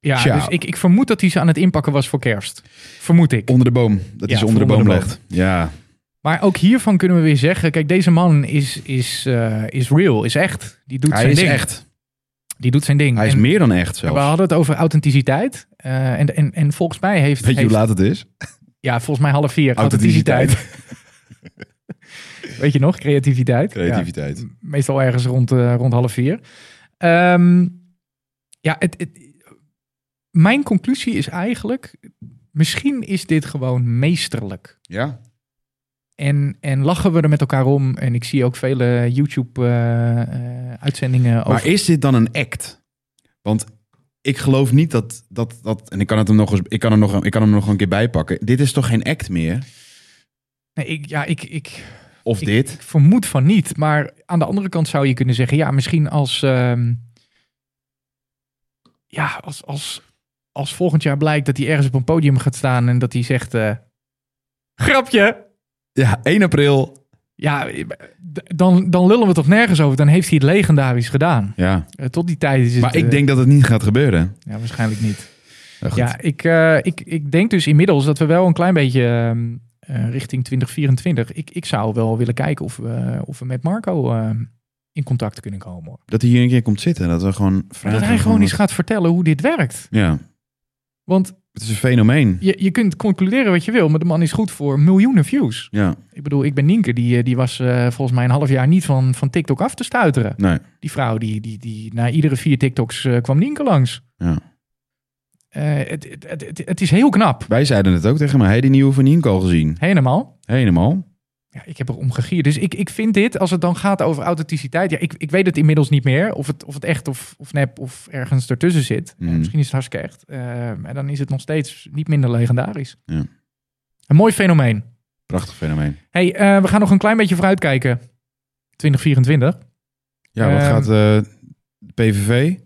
Ja, Tja. dus ik, ik vermoed dat hij ze aan het inpakken was voor kerst. Vermoed ik. Onder de boom. Dat Ja, is onder de voor boom onder de legt. Ja. Maar ook hiervan kunnen we weer zeggen, kijk, deze man is, is, eh, is real, is echt. Die doet Hij zijn is ding. echt. Die doet zijn ding. Hij is En meer dan echt We zelfs. hadden het over authenticiteit. eh, en, en, en volgens mij heeft... Weet je hoe heeft- laat het is? Ja, volgens mij half vier. Authenticiteit. Authenticiteit. Weet je nog? Creativiteit. Ja. Creativiteit. meestal ergens rond, eh, rond half vier. Ehm, ja, het, het- mijn conclusie is eigenlijk, misschien is dit gewoon meesterlijk. Ja. En, en lachen we er met elkaar om. En ik zie ook vele YouTube-uitzendingen Maar over. is dit dan een act? Want ik geloof niet dat dat. dat en ik kan, het hem nog eens, ik, kan hem nog, een- ik kan hem nog een keer bijpakken. Dit is toch geen act meer? Nee, ik, ja, ik, ik, Of Ik- dit? ik vermoed van niet. Maar aan de andere kant zou je kunnen zeggen, ja, misschien als... ehm, ja, als, als, als volgend jaar blijkt dat hij ergens op een podium gaat staan en dat hij zegt... eh, Grapje! Ja, 1 april. Ja, d- dan, dan lullen we toch nergens over. Dan heeft hij het legendarisch gedaan. Ja. Eh, tot die tijd is het... Maar eh, ik denk dat het niet gaat gebeuren. Ja, waarschijnlijk niet. Nou, goed. Ja, ik, eh, ik, ik denk dus inmiddels dat we wel een klein beetje ehm, eh, richting 2024... Ik, ik zou wel willen kijken of we, of we met Marco ehm, in contact kunnen komen. hoor. Dat hij hier een keer komt zitten. Dat we gewoon vragen. Maar dat hij van gewoon wat- eens gaat vertellen hoe dit werkt. Ja. Want Het is een fenomeen. je, je kunt concluderen wat je wil, maar de man is goed voor miljoenen views. Ja. Ik bedoel, ik ben Nienke, die, eh, die was eh, volgens mij een half jaar niet van, van TikTok af te stuiteren. Nee. Die vrouw, die, die, die na iedere vier TikToks eh, kwam Nienke langs. Ja. Eh, het, het, het, het- het is heel knap. Wij zeiden het ook tegen hem. Hij die nieuwe van Nienko gezien. Helemaal. Helemaal. Ja, ik heb er om gegierd. Dus ik, ik vind dit, als het dan gaat over authenticiteit... Ja, ik, ik weet het inmiddels niet meer. Of het, of het echt of, of nep of ergens ertussen zit. Mhm. Misschien is het hartstikke echt. Eh, en dan is het nog steeds niet minder legendarisch. Ja. Een mooi fenomeen. Prachtig fenomeen. hey, eh, we gaan nog een klein beetje vooruitkijken. 2024. Ja, wat Ehm, gaat eh, de PVV?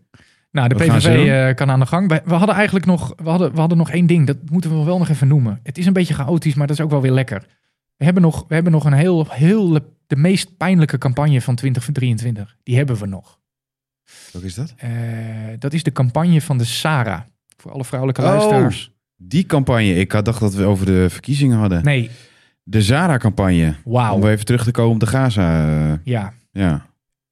Nou, de Wat gaan PVV ze doen? eh, kan aan de gang. We, we hadden eigenlijk nog, we hadden, we hadden nog één ding. Dat moeten we wel nog even noemen. Het is een beetje chaotisch, maar dat is ook wel weer lekker. We hebben nog, we hebben nog een heel, heel de meest pijnlijke campagne van 2023. Die hebben we nog. Wat is dat? Eh, dat is de campagne van de Sara. Voor alle vrouwelijke Oh. luisteraars. Die campagne. Ik had dacht dat we over de verkiezingen hadden. Nee, De Zara-campagne. Om wauw. weer even terug te komen op de Gaza. eh, Ja, ja,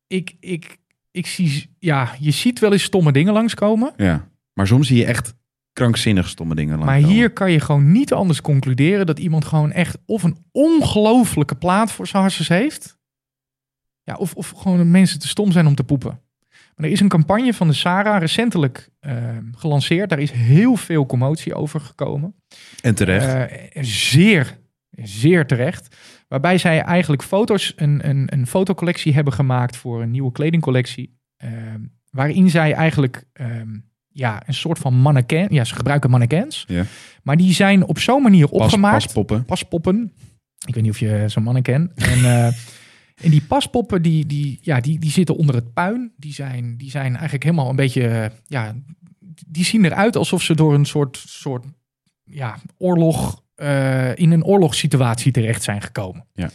ik, ik, ik zie, ja, je ziet wel eens stomme dingen langskomen. ja. Maar soms zie je echt krankzinnig stomme dingen. Maar langskomen. hier kan je gewoon niet anders concluderen dat iemand gewoon echt of een ongelofelijke plaat voor zijn harses heeft. Ja, of, of gewoon de mensen te stom zijn om te poepen. Maar er is een campagne van de Sara recentelijk ehm, gelanceerd. Daar is heel veel commotie over gekomen. En terecht. Eh, zeer, zeer terecht. Waarbij zij eigenlijk foto's, een, een, een fotocollectie hebben gemaakt voor een nieuwe kledingcollectie. ehm, waarin zij eigenlijk ehm, ja, een soort van mannequin, ja, ze gebruiken mannequins. Ja. Maar die zijn op zo'n manier pas, opgemaakt. paspoppen. paspoppen. Ik weet niet of je zo'n mannequin. En, eh, en die paspoppen, die, die, ja, die, die zitten onder het puin. Die zijn, die zijn eigenlijk helemaal een beetje, eh, ja, die zien eruit alsof ze door een soort, soort ja, oorlog, eh, in een oorlogssituatie terecht zijn gekomen. Ja.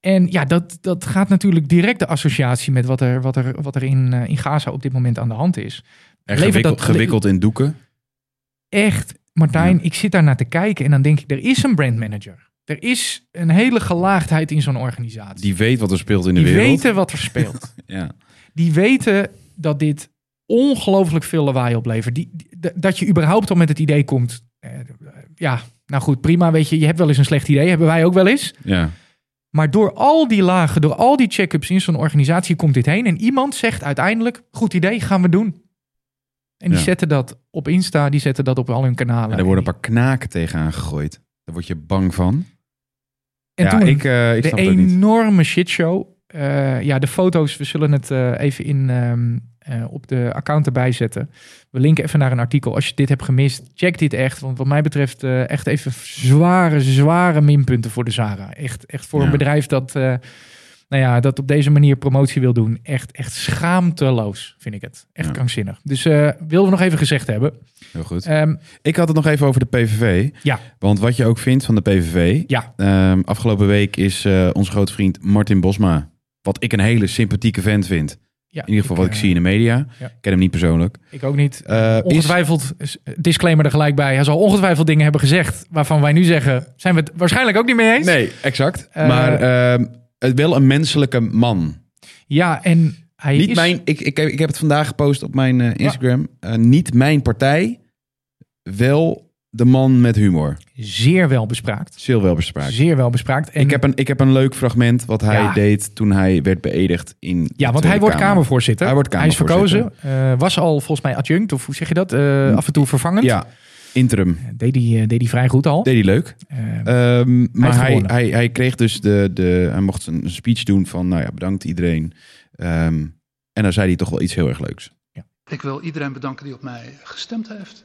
En ja, dat, dat gaat natuurlijk direct de associatie met wat er, wat er, wat er in, eh, in Gaza op dit moment aan de hand is. En Levert gewikkeld, dat- gewikkeld in doeken. Echt, Martijn, Ja. ik zit daar naar te kijken en dan denk ik, er is een brandmanager. Er is een hele gelaagdheid in zo'n organisatie. Die weet wat er speelt in de Die wereld. weten wat er speelt. Ja. Die weten dat dit ongelooflijk veel lawaai oplevert. Die, die- d- dat je überhaupt al met het idee komt, eh, ja, nou goed, prima, weet je, je hebt wel eens een slecht idee, hebben wij ook wel eens. ja. Maar door al die lagen, door al die check-ups in zo'n organisatie komt dit heen. En iemand zegt uiteindelijk, goed idee, gaan we doen. En die Ja. zetten dat op Insta, die zetten dat op al hun kanalen. En er worden een paar knaken tegenaan gegooid. Daar word je bang van. En ja, toen ik, eh, ik de snap het ook niet. enorme shitshow. Eh, ja, de foto's, we zullen het eh, even in, ehm, eh, op de account erbij zetten. We linken even naar een artikel. Als je dit hebt gemist, check dit echt. Want wat mij betreft eh, echt even zware, zware minpunten voor de Zara. Echt, echt voor Ja. een bedrijf dat, eh, nou ja, dat op deze manier promotie wil doen. Echt, echt schaamteloos vind ik het. Echt Ja. krankzinnig. Dus eh wilden we nog even gezegd hebben. Heel goed. Ehm, Ik had het nog even over de PVV. Ja. Want wat je ook vindt van de PVV. Ja. ehm, afgelopen week is eh onze grote vriend Martin Bosma. Wat ik een hele sympathieke vent vind. ja, In ieder geval wat ik eh, zie in de media. ja. Ik ken hem niet persoonlijk. Ik ook niet. Eh, is, Ongetwijfeld, is- eh, disclaimer er gelijk bij. Hij zal ongetwijfeld dingen hebben gezegd waarvan wij nu zeggen, zijn we het waarschijnlijk ook niet mee eens. nee, exact. Eh, maar ehm, het wel een menselijke man. Ja, en hij Niet is... mijn, ik, ik, heb- ik heb het vandaag gepost op mijn eh, Instagram. Eh, niet mijn partij. Wel de man met humor. zeer wel bespraakt. Zeer wel bespraakt. Zeer wel bespraakt. En, Ik heb, een, ik heb een leuk fragment wat hij Ja. deed toen hij werd beëdigd in. de ja, want Tweede hij wordt Kamer. Kamervoorzitter. Hij wordt is verkozen. eh, was al volgens mij adjunct, of hoe zeg je dat? Eh, af en toe vervangend. Mm. Ja, interim. Deed hij, eh, deed hij vrij goed al. Deed hij leuk. Eh, Ehm, maar hij, hij, gewonnen. hij, kreeg dus de, de. Hij mocht een een speech doen van. Nou ja, bedankt iedereen. Ehm, en dan zei hij toch wel iets heel erg leuks. Ik wil iedereen bedanken die op mij gestemd heeft.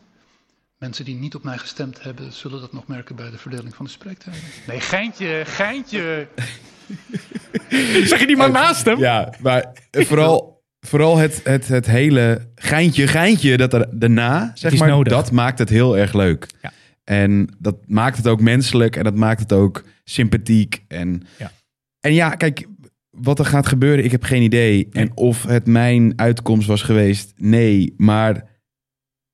Mensen die niet op mij gestemd hebben, zullen dat nog merken bij de verdeling van de spreektijden. Nee, geintje, geintje. Zeg je die maar naast hem? Ja, maar vooral, vooral het, het, het hele geintje, geintje. Dat er daarna, zeg is maar, nodig. dat maakt het heel erg leuk. Ja. En dat maakt het ook menselijk. En dat maakt het ook sympathiek. En Ja. en ja kijk, wat er gaat gebeuren, ik heb geen idee. Nee. En of het mijn uitkomst was geweest, nee. Maar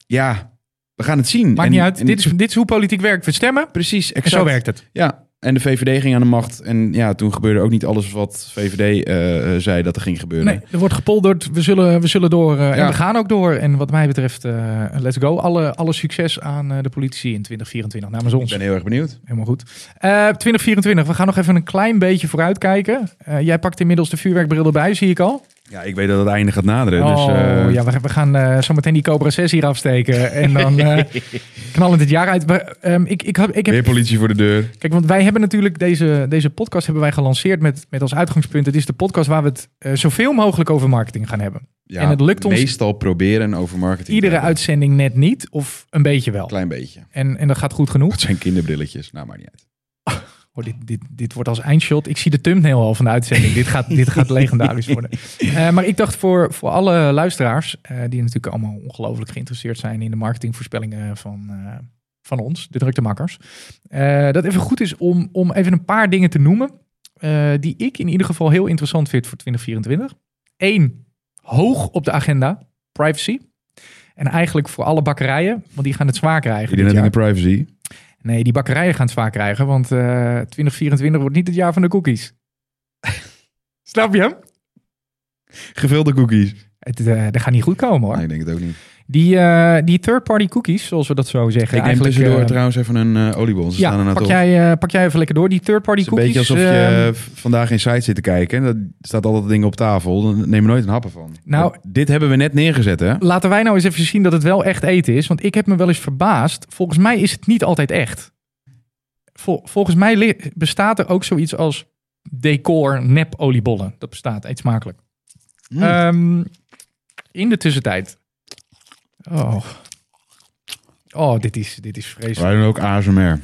ja, we gaan het zien. Maakt En- niet uit. en- dit, is, dit is hoe politiek werkt. We stemmen precies en exact. zo werkt het. Ja, en de VVD ging aan de macht. En ja, toen gebeurde ook niet alles wat VVD eh, eh, zei dat er ging gebeuren. Nee, er wordt gepolderd. We zullen, we zullen door eh, en Ja. we gaan ook door. En wat mij betreft, eh, let's go. Alle, alle succes aan eh, de politici in 2024 namens Ik ons. ben heel erg benieuwd. Helemaal goed. Eh, 2024, we gaan nog even een klein beetje vooruitkijken. Eh, jij pakt inmiddels de vuurwerkbril erbij, zie ik al. Ja, ik weet dat het einde gaat naderen. oh, dus, eh, ja, we, we gaan eh, zo meteen die Cobra 6 hier afsteken. En dan eh knallen het jaar uit. Maar, ehm, ik, ik, heb, ik heb Weer politie voor de deur. Kijk, want wij hebben natuurlijk deze, deze podcast hebben wij gelanceerd met, met als uitgangspunt. Het is de podcast waar we het eh, zoveel mogelijk over marketing gaan hebben. Ja, En het lukt ons- Meestal proberen over marketing. te Iedere hebben. uitzending net niet, of een beetje wel. Klein beetje. En, en dat gaat goed genoeg. Het zijn kinderbrilletjes. Nou, maar niet uit. Oh, dit, dit, dit wordt als eindshot. Ik zie de thumbnail al van de uitzending. dit, gaat, dit gaat legendarisch worden. Eh, maar ik dacht voor, voor alle luisteraars, eh, die natuurlijk allemaal ongelooflijk geïnteresseerd zijn in de marketingvoorspellingen van, eh, van ons, de drukte makkers, eh, dat even goed is om, om even een paar dingen te noemen eh, die ik in ieder geval heel interessant vind voor 2024. Eén, hoog op de agenda, privacy. En eigenlijk voor alle bakkerijen, want die gaan het zwaar krijgen. Iedereen dit in jaar. de privacy. Nee, die bakkerijen gaan het zwaar krijgen, want eh, 2024 wordt niet het jaar van de cookies. Snap je hem? Gevulde cookies. Het, eh, dat gaat niet goed komen hoor. Nee, ik denk het ook niet. Die, eh, die third-party cookies, zoals we dat zo zeggen. ik neem eigenlijk, tussendoor eh, trouwens even een eh, oliebol. Ze staan er ja, nou pak toch. jij, eh, pak jij even lekker door. Die third-party Het is een cookies. beetje alsof je ehm, eh, v- vandaag in site zit te kijken. En dat staat altijd dingen op tafel. Dan neem je nooit een happen van. Nou- Want dit hebben we net neergezet, hè? Laten wij nou eens even zien dat het wel echt eten is. Want ik heb me wel eens verbaasd. Volgens mij is het niet altijd echt. Vol- volgens mij li- bestaat er ook zoiets als decor nep oliebollen. Dat bestaat, eet smakelijk. Mm. Ehm, in de tussentijd. Oh. Oh, dit is, dit is vreselijk. Wij doen ook ASMR.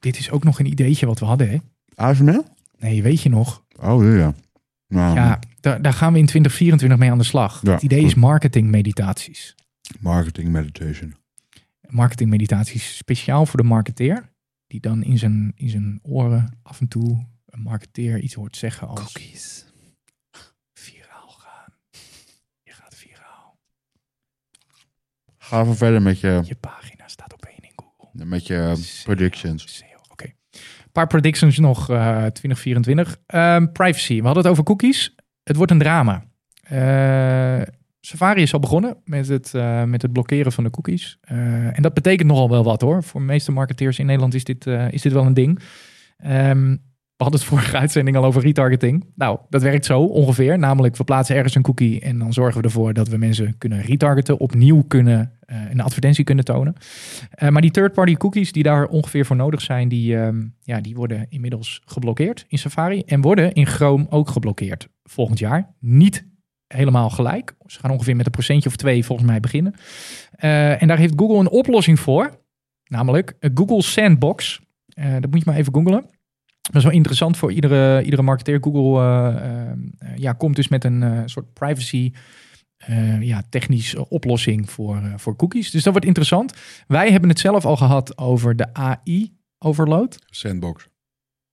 Dit is ook nog een ideetje wat we hadden, hè? ASMR? Nee, weet je nog? Oh, ja, ja. Nou, Ja, daar, daar gaan we in 2024 mee aan de slag. Ja, het idee is goed. marketingmeditaties. Marketing meditation. Marketingmeditaties speciaal voor de marketeer. Die dan in zijn, in zijn oren af en toe een marketeer iets hoort zeggen als... Cookies. Viraal gaan. Je gaat viraal. Ga even verder met je, Je pagina staat op één in Google. met je predictions. SEO, Oké. Een paar predictions nog, eh 2024. Ehm, privacy. We hadden het over cookies. Het wordt een drama. Eh, Safari is al begonnen met het, eh, met het blokkeren van de cookies. Eh, en dat betekent nogal wel wat hoor. Voor de meeste marketeers in Nederland is dit, eh, is dit wel een ding. Ehm, we hadden het vorige uitzending al over retargeting. Nou, dat werkt zo ongeveer. Namelijk, we plaatsen ergens een cookie en dan zorgen we ervoor dat we mensen kunnen retargeten, opnieuw kunnen eh, een advertentie kunnen tonen. Eh, maar die third-party cookies die daar ongeveer voor nodig zijn, die, ehm, ja, die worden inmiddels geblokkeerd in Safari en worden in Chrome ook geblokkeerd volgend jaar. Niet helemaal gelijk. Ze gaan ongeveer met een procentje of twee volgens mij beginnen. Eh, en daar heeft Google een oplossing voor, namelijk eh, Google Sandbox. Eh, dat moet je maar even googlen. Dat is wel interessant voor iedere, iedere marketeer. Google eh, eh, ja, komt dus met een eh, soort privacy eh, ja, technische oplossing voor, eh, voor cookies. Dus dat wordt interessant. Wij hebben het zelf al gehad over de AI-overload. Sandbox.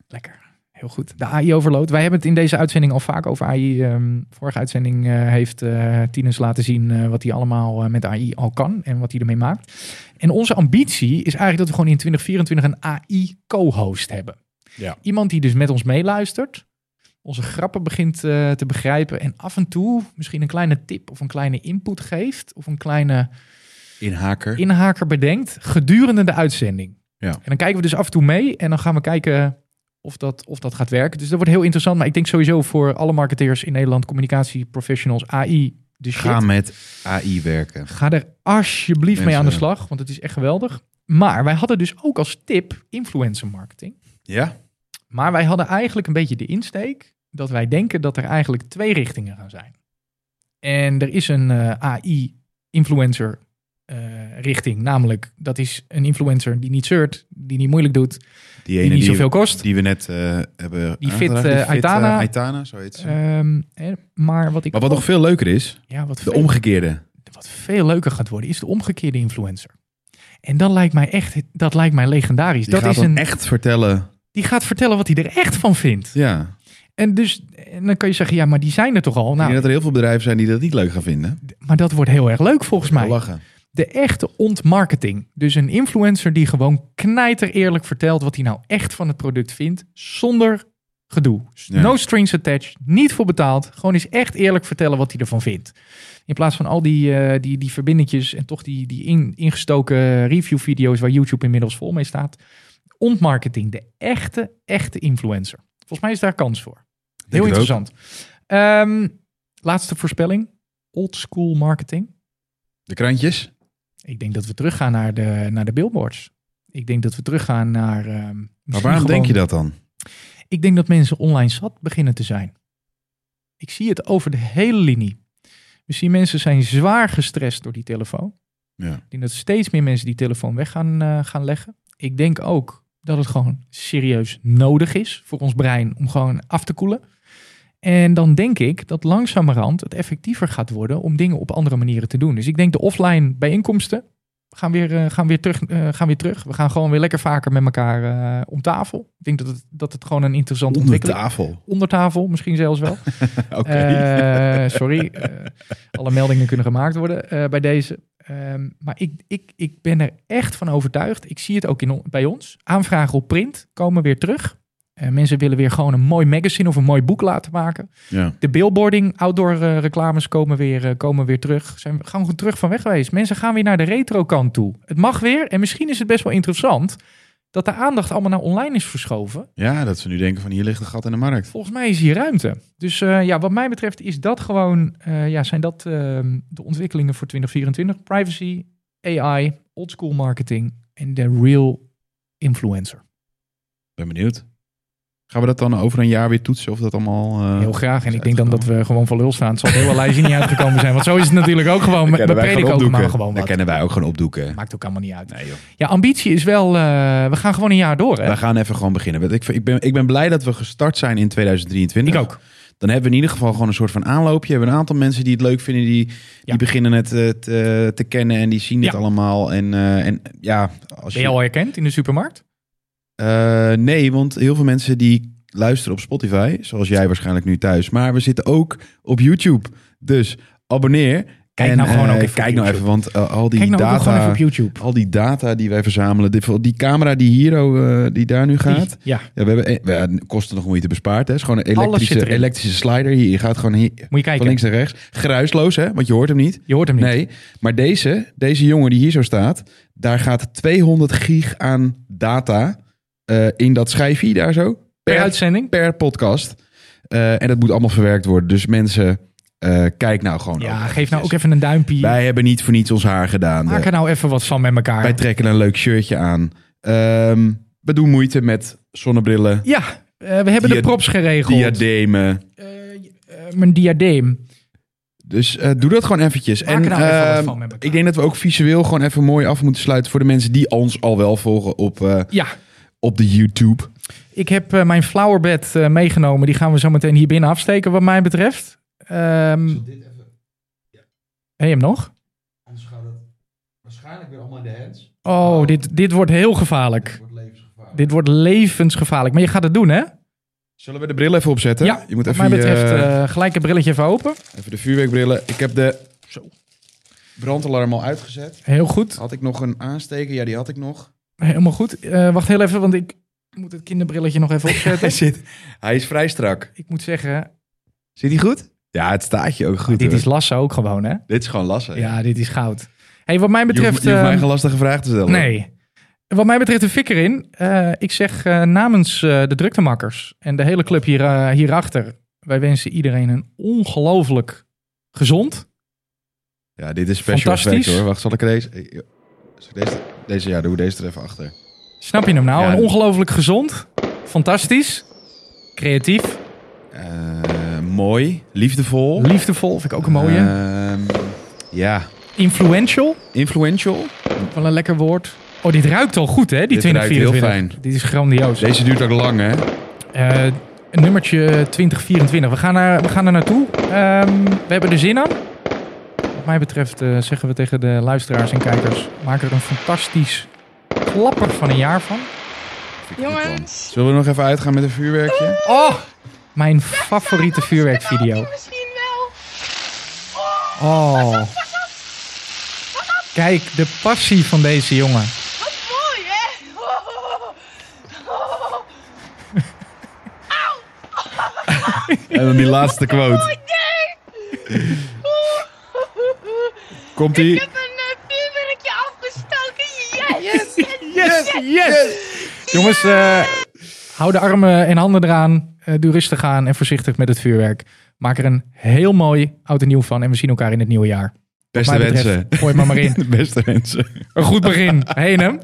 Lekker. Heel goed. De AI-overload. Wij hebben het in deze uitzending al vaak over AI. Ehm, vorige uitzending eh, heeft eh Tinus laten zien eh, wat hij allemaal eh, met AI al kan en wat hij ermee maakt. En onze ambitie is eigenlijk dat we gewoon in 2024 een AI-co-host hebben. Ja. Iemand die dus met ons meeluistert, onze grappen begint eh, te begrijpen en af en toe misschien een kleine tip of een kleine input geeft of een kleine Inhaker. inhaker bedenkt gedurende de uitzending. Ja. En dan kijken we dus af en toe mee en dan gaan we kijken of dat, of dat gaat werken. Dus dat wordt heel interessant. Maar ik denk sowieso voor alle marketeers in Nederland, communicatieprofessionals, AI, de shit. Ga met AI werken. Ga er alsjeblieft mee Mensen. aan de slag, want het is echt geweldig. Maar wij hadden dus ook als tip influencer marketing. Ja? Maar wij hadden eigenlijk een beetje de insteek dat wij denken dat er eigenlijk twee richtingen gaan zijn. En er is een eh, AI-influencer eh, richting, namelijk dat is een influencer die niet zeurt, die niet moeilijk doet, Die die ene niet die, zoveel kost. die we net eh, hebben Die fit, aangedragen. eh, eh, Aitana. Aitana, zo heet ze. Ehm, hè, maar wat ik maar wat nog veel leuker is, ja, wat, de veel, omgekeerde. wat veel leuker gaat worden, is de omgekeerde influencer. En dat lijkt mij echt, dat lijkt mij legendarisch. Die dat gaat is dan een, echt vertellen. die gaat vertellen wat hij er echt van vindt. Ja. En dus, en dan kan je zeggen, ja, maar die zijn er toch al. ik denk Nou, dat er heel veel bedrijven zijn die dat niet leuk gaan vinden. maar dat wordt heel erg leuk volgens mij. Lachen. De echte ontmarketing. Dus een influencer die gewoon knijter eerlijk vertelt wat hij nou echt van het product vindt. Zonder gedoe. Ja. No strings attached. Niet voor betaald. Gewoon eens echt eerlijk vertellen wat hij ervan vindt. In plaats van al die, eh, die, die verbindetjes en toch die, die in- ingestoken review video's waar YouTube inmiddels vol mee staat. Ontmarketing. De echte, echte influencer. Volgens mij is daar kans voor. Heel het ook. interessant. Ehm, laatste voorspelling. Old school marketing. De krantjes. Ik denk dat we teruggaan naar de, naar de billboards. Ik denk dat we teruggaan naar. ehm, Maar misschien waarom gewoon- denk je dat dan? Ik denk dat mensen online zat beginnen te zijn. Ik zie het over de hele linie. We zien mensen zijn zwaar gestrest door die telefoon. Ja. Ik denk dat steeds meer mensen die telefoon weg gaan, eh, gaan leggen. Ik denk ook dat het gewoon serieus nodig is voor ons brein om gewoon af te koelen. En dan denk ik dat langzamerhand het effectiever gaat worden om dingen op andere manieren te doen. Dus ik denk de offline bijeenkomsten gaan weer, eh, gaan weer, terug, eh, gaan weer terug. We gaan gewoon weer lekker vaker met elkaar eh, om tafel. Ik denk dat het, dat het gewoon een interessante Onder ontwikkeling tafel. Onder tafel misschien zelfs wel. Oké. Eh, sorry. Eh, alle meldingen kunnen gemaakt worden eh, bij deze. Ehm, maar ik, ik, ik ben er echt van overtuigd. Ik zie het ook in, on- bij ons. Aanvragen op print komen weer terug. Eh, mensen willen weer gewoon een mooi magazine of een mooi boek laten maken. ja. De billboarding, outdoor eh, reclames komen weer, eh, komen weer terug. Zijn we gaan we terug van weg geweest. Mensen gaan weer naar de retro kant toe. Het mag weer. En misschien is het best wel interessant dat de aandacht allemaal naar online is verschoven. ja, dat ze nu denken van hier ligt een gat in de markt. Volgens mij is hier ruimte. Dus eh, ja, wat mij betreft is dat gewoon, eh, ja, zijn dat ehm, de ontwikkelingen voor 2024. Privacy, AI, oldschool marketing en de real influencer. Ben benieuwd. Gaan we dat dan over een jaar weer toetsen of dat allemaal... eh, Heel graag. En is ik denk dan dat we gewoon van lul staan. Het zal het hele lijstje niet uitgekomen zijn. Want zo is het natuurlijk ook gewoon. We Dan kennen wij Oh, prediken ook maar opdoeken. gewoon Dan wat. kennen wij ook gewoon opdoeken. Maakt ook allemaal niet uit. Nee joh. Ja, ambitie is wel, eh, we gaan gewoon een jaar door hè. Wij gaan even gewoon beginnen. Want Ik, ik, ben, ik ben blij dat we gestart zijn in 2023. Ik ook. Dan hebben we in ieder geval gewoon een soort van aanloopje. We hebben een aantal mensen die het leuk vinden. Die, die beginnen het eh, te, te kennen en die zien het Ja. allemaal. En, eh, en ja, als Ben je al herkend in de supermarkt? Eh, nee, want heel veel mensen die luisteren op Spotify, zoals jij waarschijnlijk nu thuis. Maar we zitten ook op YouTube. Dus abonneer. Kijk en, nou gewoon eh, ook even op kijk nou YouTube. even, want eh, al die Kijk nou ook gewoon data, even op YouTube. al die data die wij verzamelen, dit, die camera die hier, oh, eh, die daar nu gaat. Ja, Ja, we hebben eh, we, hadden kosten nog moeite bespaard. Hè. Het is gewoon een Alles zit elektrische, erin. elektrische slider. Hier, je gaat gewoon hier, moet je van kijken. links naar rechts. Geruisloos, hè? Want je hoort hem niet. Je hoort hem niet. Nee, maar deze, deze jongen die hier zo staat, daar gaat 200 gig aan data eh, in dat schijfje daar zo. Per Per, uitzending. per podcast. Eh, en dat moet allemaal verwerkt worden. Dus mensen, eh, kijk nou gewoon. Ja, ook geef nou ook eventjes. even een duimpje. Wij hebben niet voor niets ons haar gedaan. eh. Maak er nou even wat van met elkaar. Wij trekken een leuk shirtje aan. Ehm, we doen moeite met zonnebrillen, Ja, eh, we hebben Dia- de props geregeld. diademen. Eh, eh, mijn diadeem. Dus eh, doe dat gewoon eventjes. Maak er nou even wat ehm, van met elkaar. ik denk dat we ook visueel gewoon even mooi af moeten sluiten voor de mensen die ons al wel volgen op, eh, Ja, op de YouTube. Ik heb eh, mijn flowerbed eh, meegenomen. Die gaan we zo meteen hier binnen afsteken, wat mij betreft. Ehm, Zal dit even, heb je hem nog? anders gaat het waarschijnlijk weer allemaal in de hands. Oh, dit, dit wordt heel gevaarlijk. Het wordt levensgevaarlijk. Dit wordt levensgevaarlijk. Maar je gaat het doen, hè? Zullen we de bril even opzetten? Ja, je moet Wat even, mij je, betreft, eh, gelijk het brilletje even open. even de vuurwerkbrillen. Ik heb de brandalarm al uitgezet. Heel goed. Had ik nog een aansteker? Ja, die had ik nog. Helemaal goed. Eh, wacht heel even, want ik moet het kinderbrilletje nog even opzetten. Hij, zit, hij is vrij strak. ik moet zeggen, Zit hij goed? Ja, het staat je ook goed. Ah, dit hoor. is lasso ook gewoon, hè? dit is gewoon lastig. Ja, dit is goud. hey, wat mij Je hoeft, betreft... je hoeft mij ehm, geen lastige vraag te stellen. Nee. Wat mij betreft de fik erin. Eh, ik zeg eh, namens eh, de druktemakkers en de hele club hier, eh, hierachter. Wij wensen iedereen een ongelooflijk gezond. Ja, dit is special effect Fantastisch. hoor. Wacht, zal ik er deze... eh, zal ik Deze, deze, ja, doe deze er even achter. Snap je hem nou? Ja. Een ongelooflijk gezond. Fantastisch. Creatief. Eh, mooi, liefdevol. Liefdevol. Vind ik ook een mooie. Ehm, ja, Influential. influential. Wel een lekker woord. Oh, dit ruikt al goed, hè? Die Dit ruikt heel 2024. fijn. Dit is grandioos. Deze duurt ook lang, hè? Eh, een nummertje 2024. We gaan, naar, we gaan er naartoe. Ehm, we hebben er zin aan. Wat mij betreft eh, zeggen we tegen de luisteraars en kijkers: maak er een fantastisch klapper van een jaar van. Jongens, Zullen we nog even uitgaan met een vuurwerkje? Oh, mijn favoriete vuurwerkvideo. misschien wel. Oh. Kijk, de passie van deze jongen. Wat mooi, hè? En dan die laatste Oh quote. Komt Ik ie? heb een eh, vuurwerkje afgestoken. Yes! Yes, yes! Jongens, eh, hou de armen en handen eraan. Eh doe rustig aan en voorzichtig met het vuurwerk. Maak er een heel mooi oud en nieuw van. En we zien elkaar in het nieuwe jaar. Beste Wat mij betreft, wensen. Gooi maar maar in. Beste wensen. Een goed begin. Heen hem.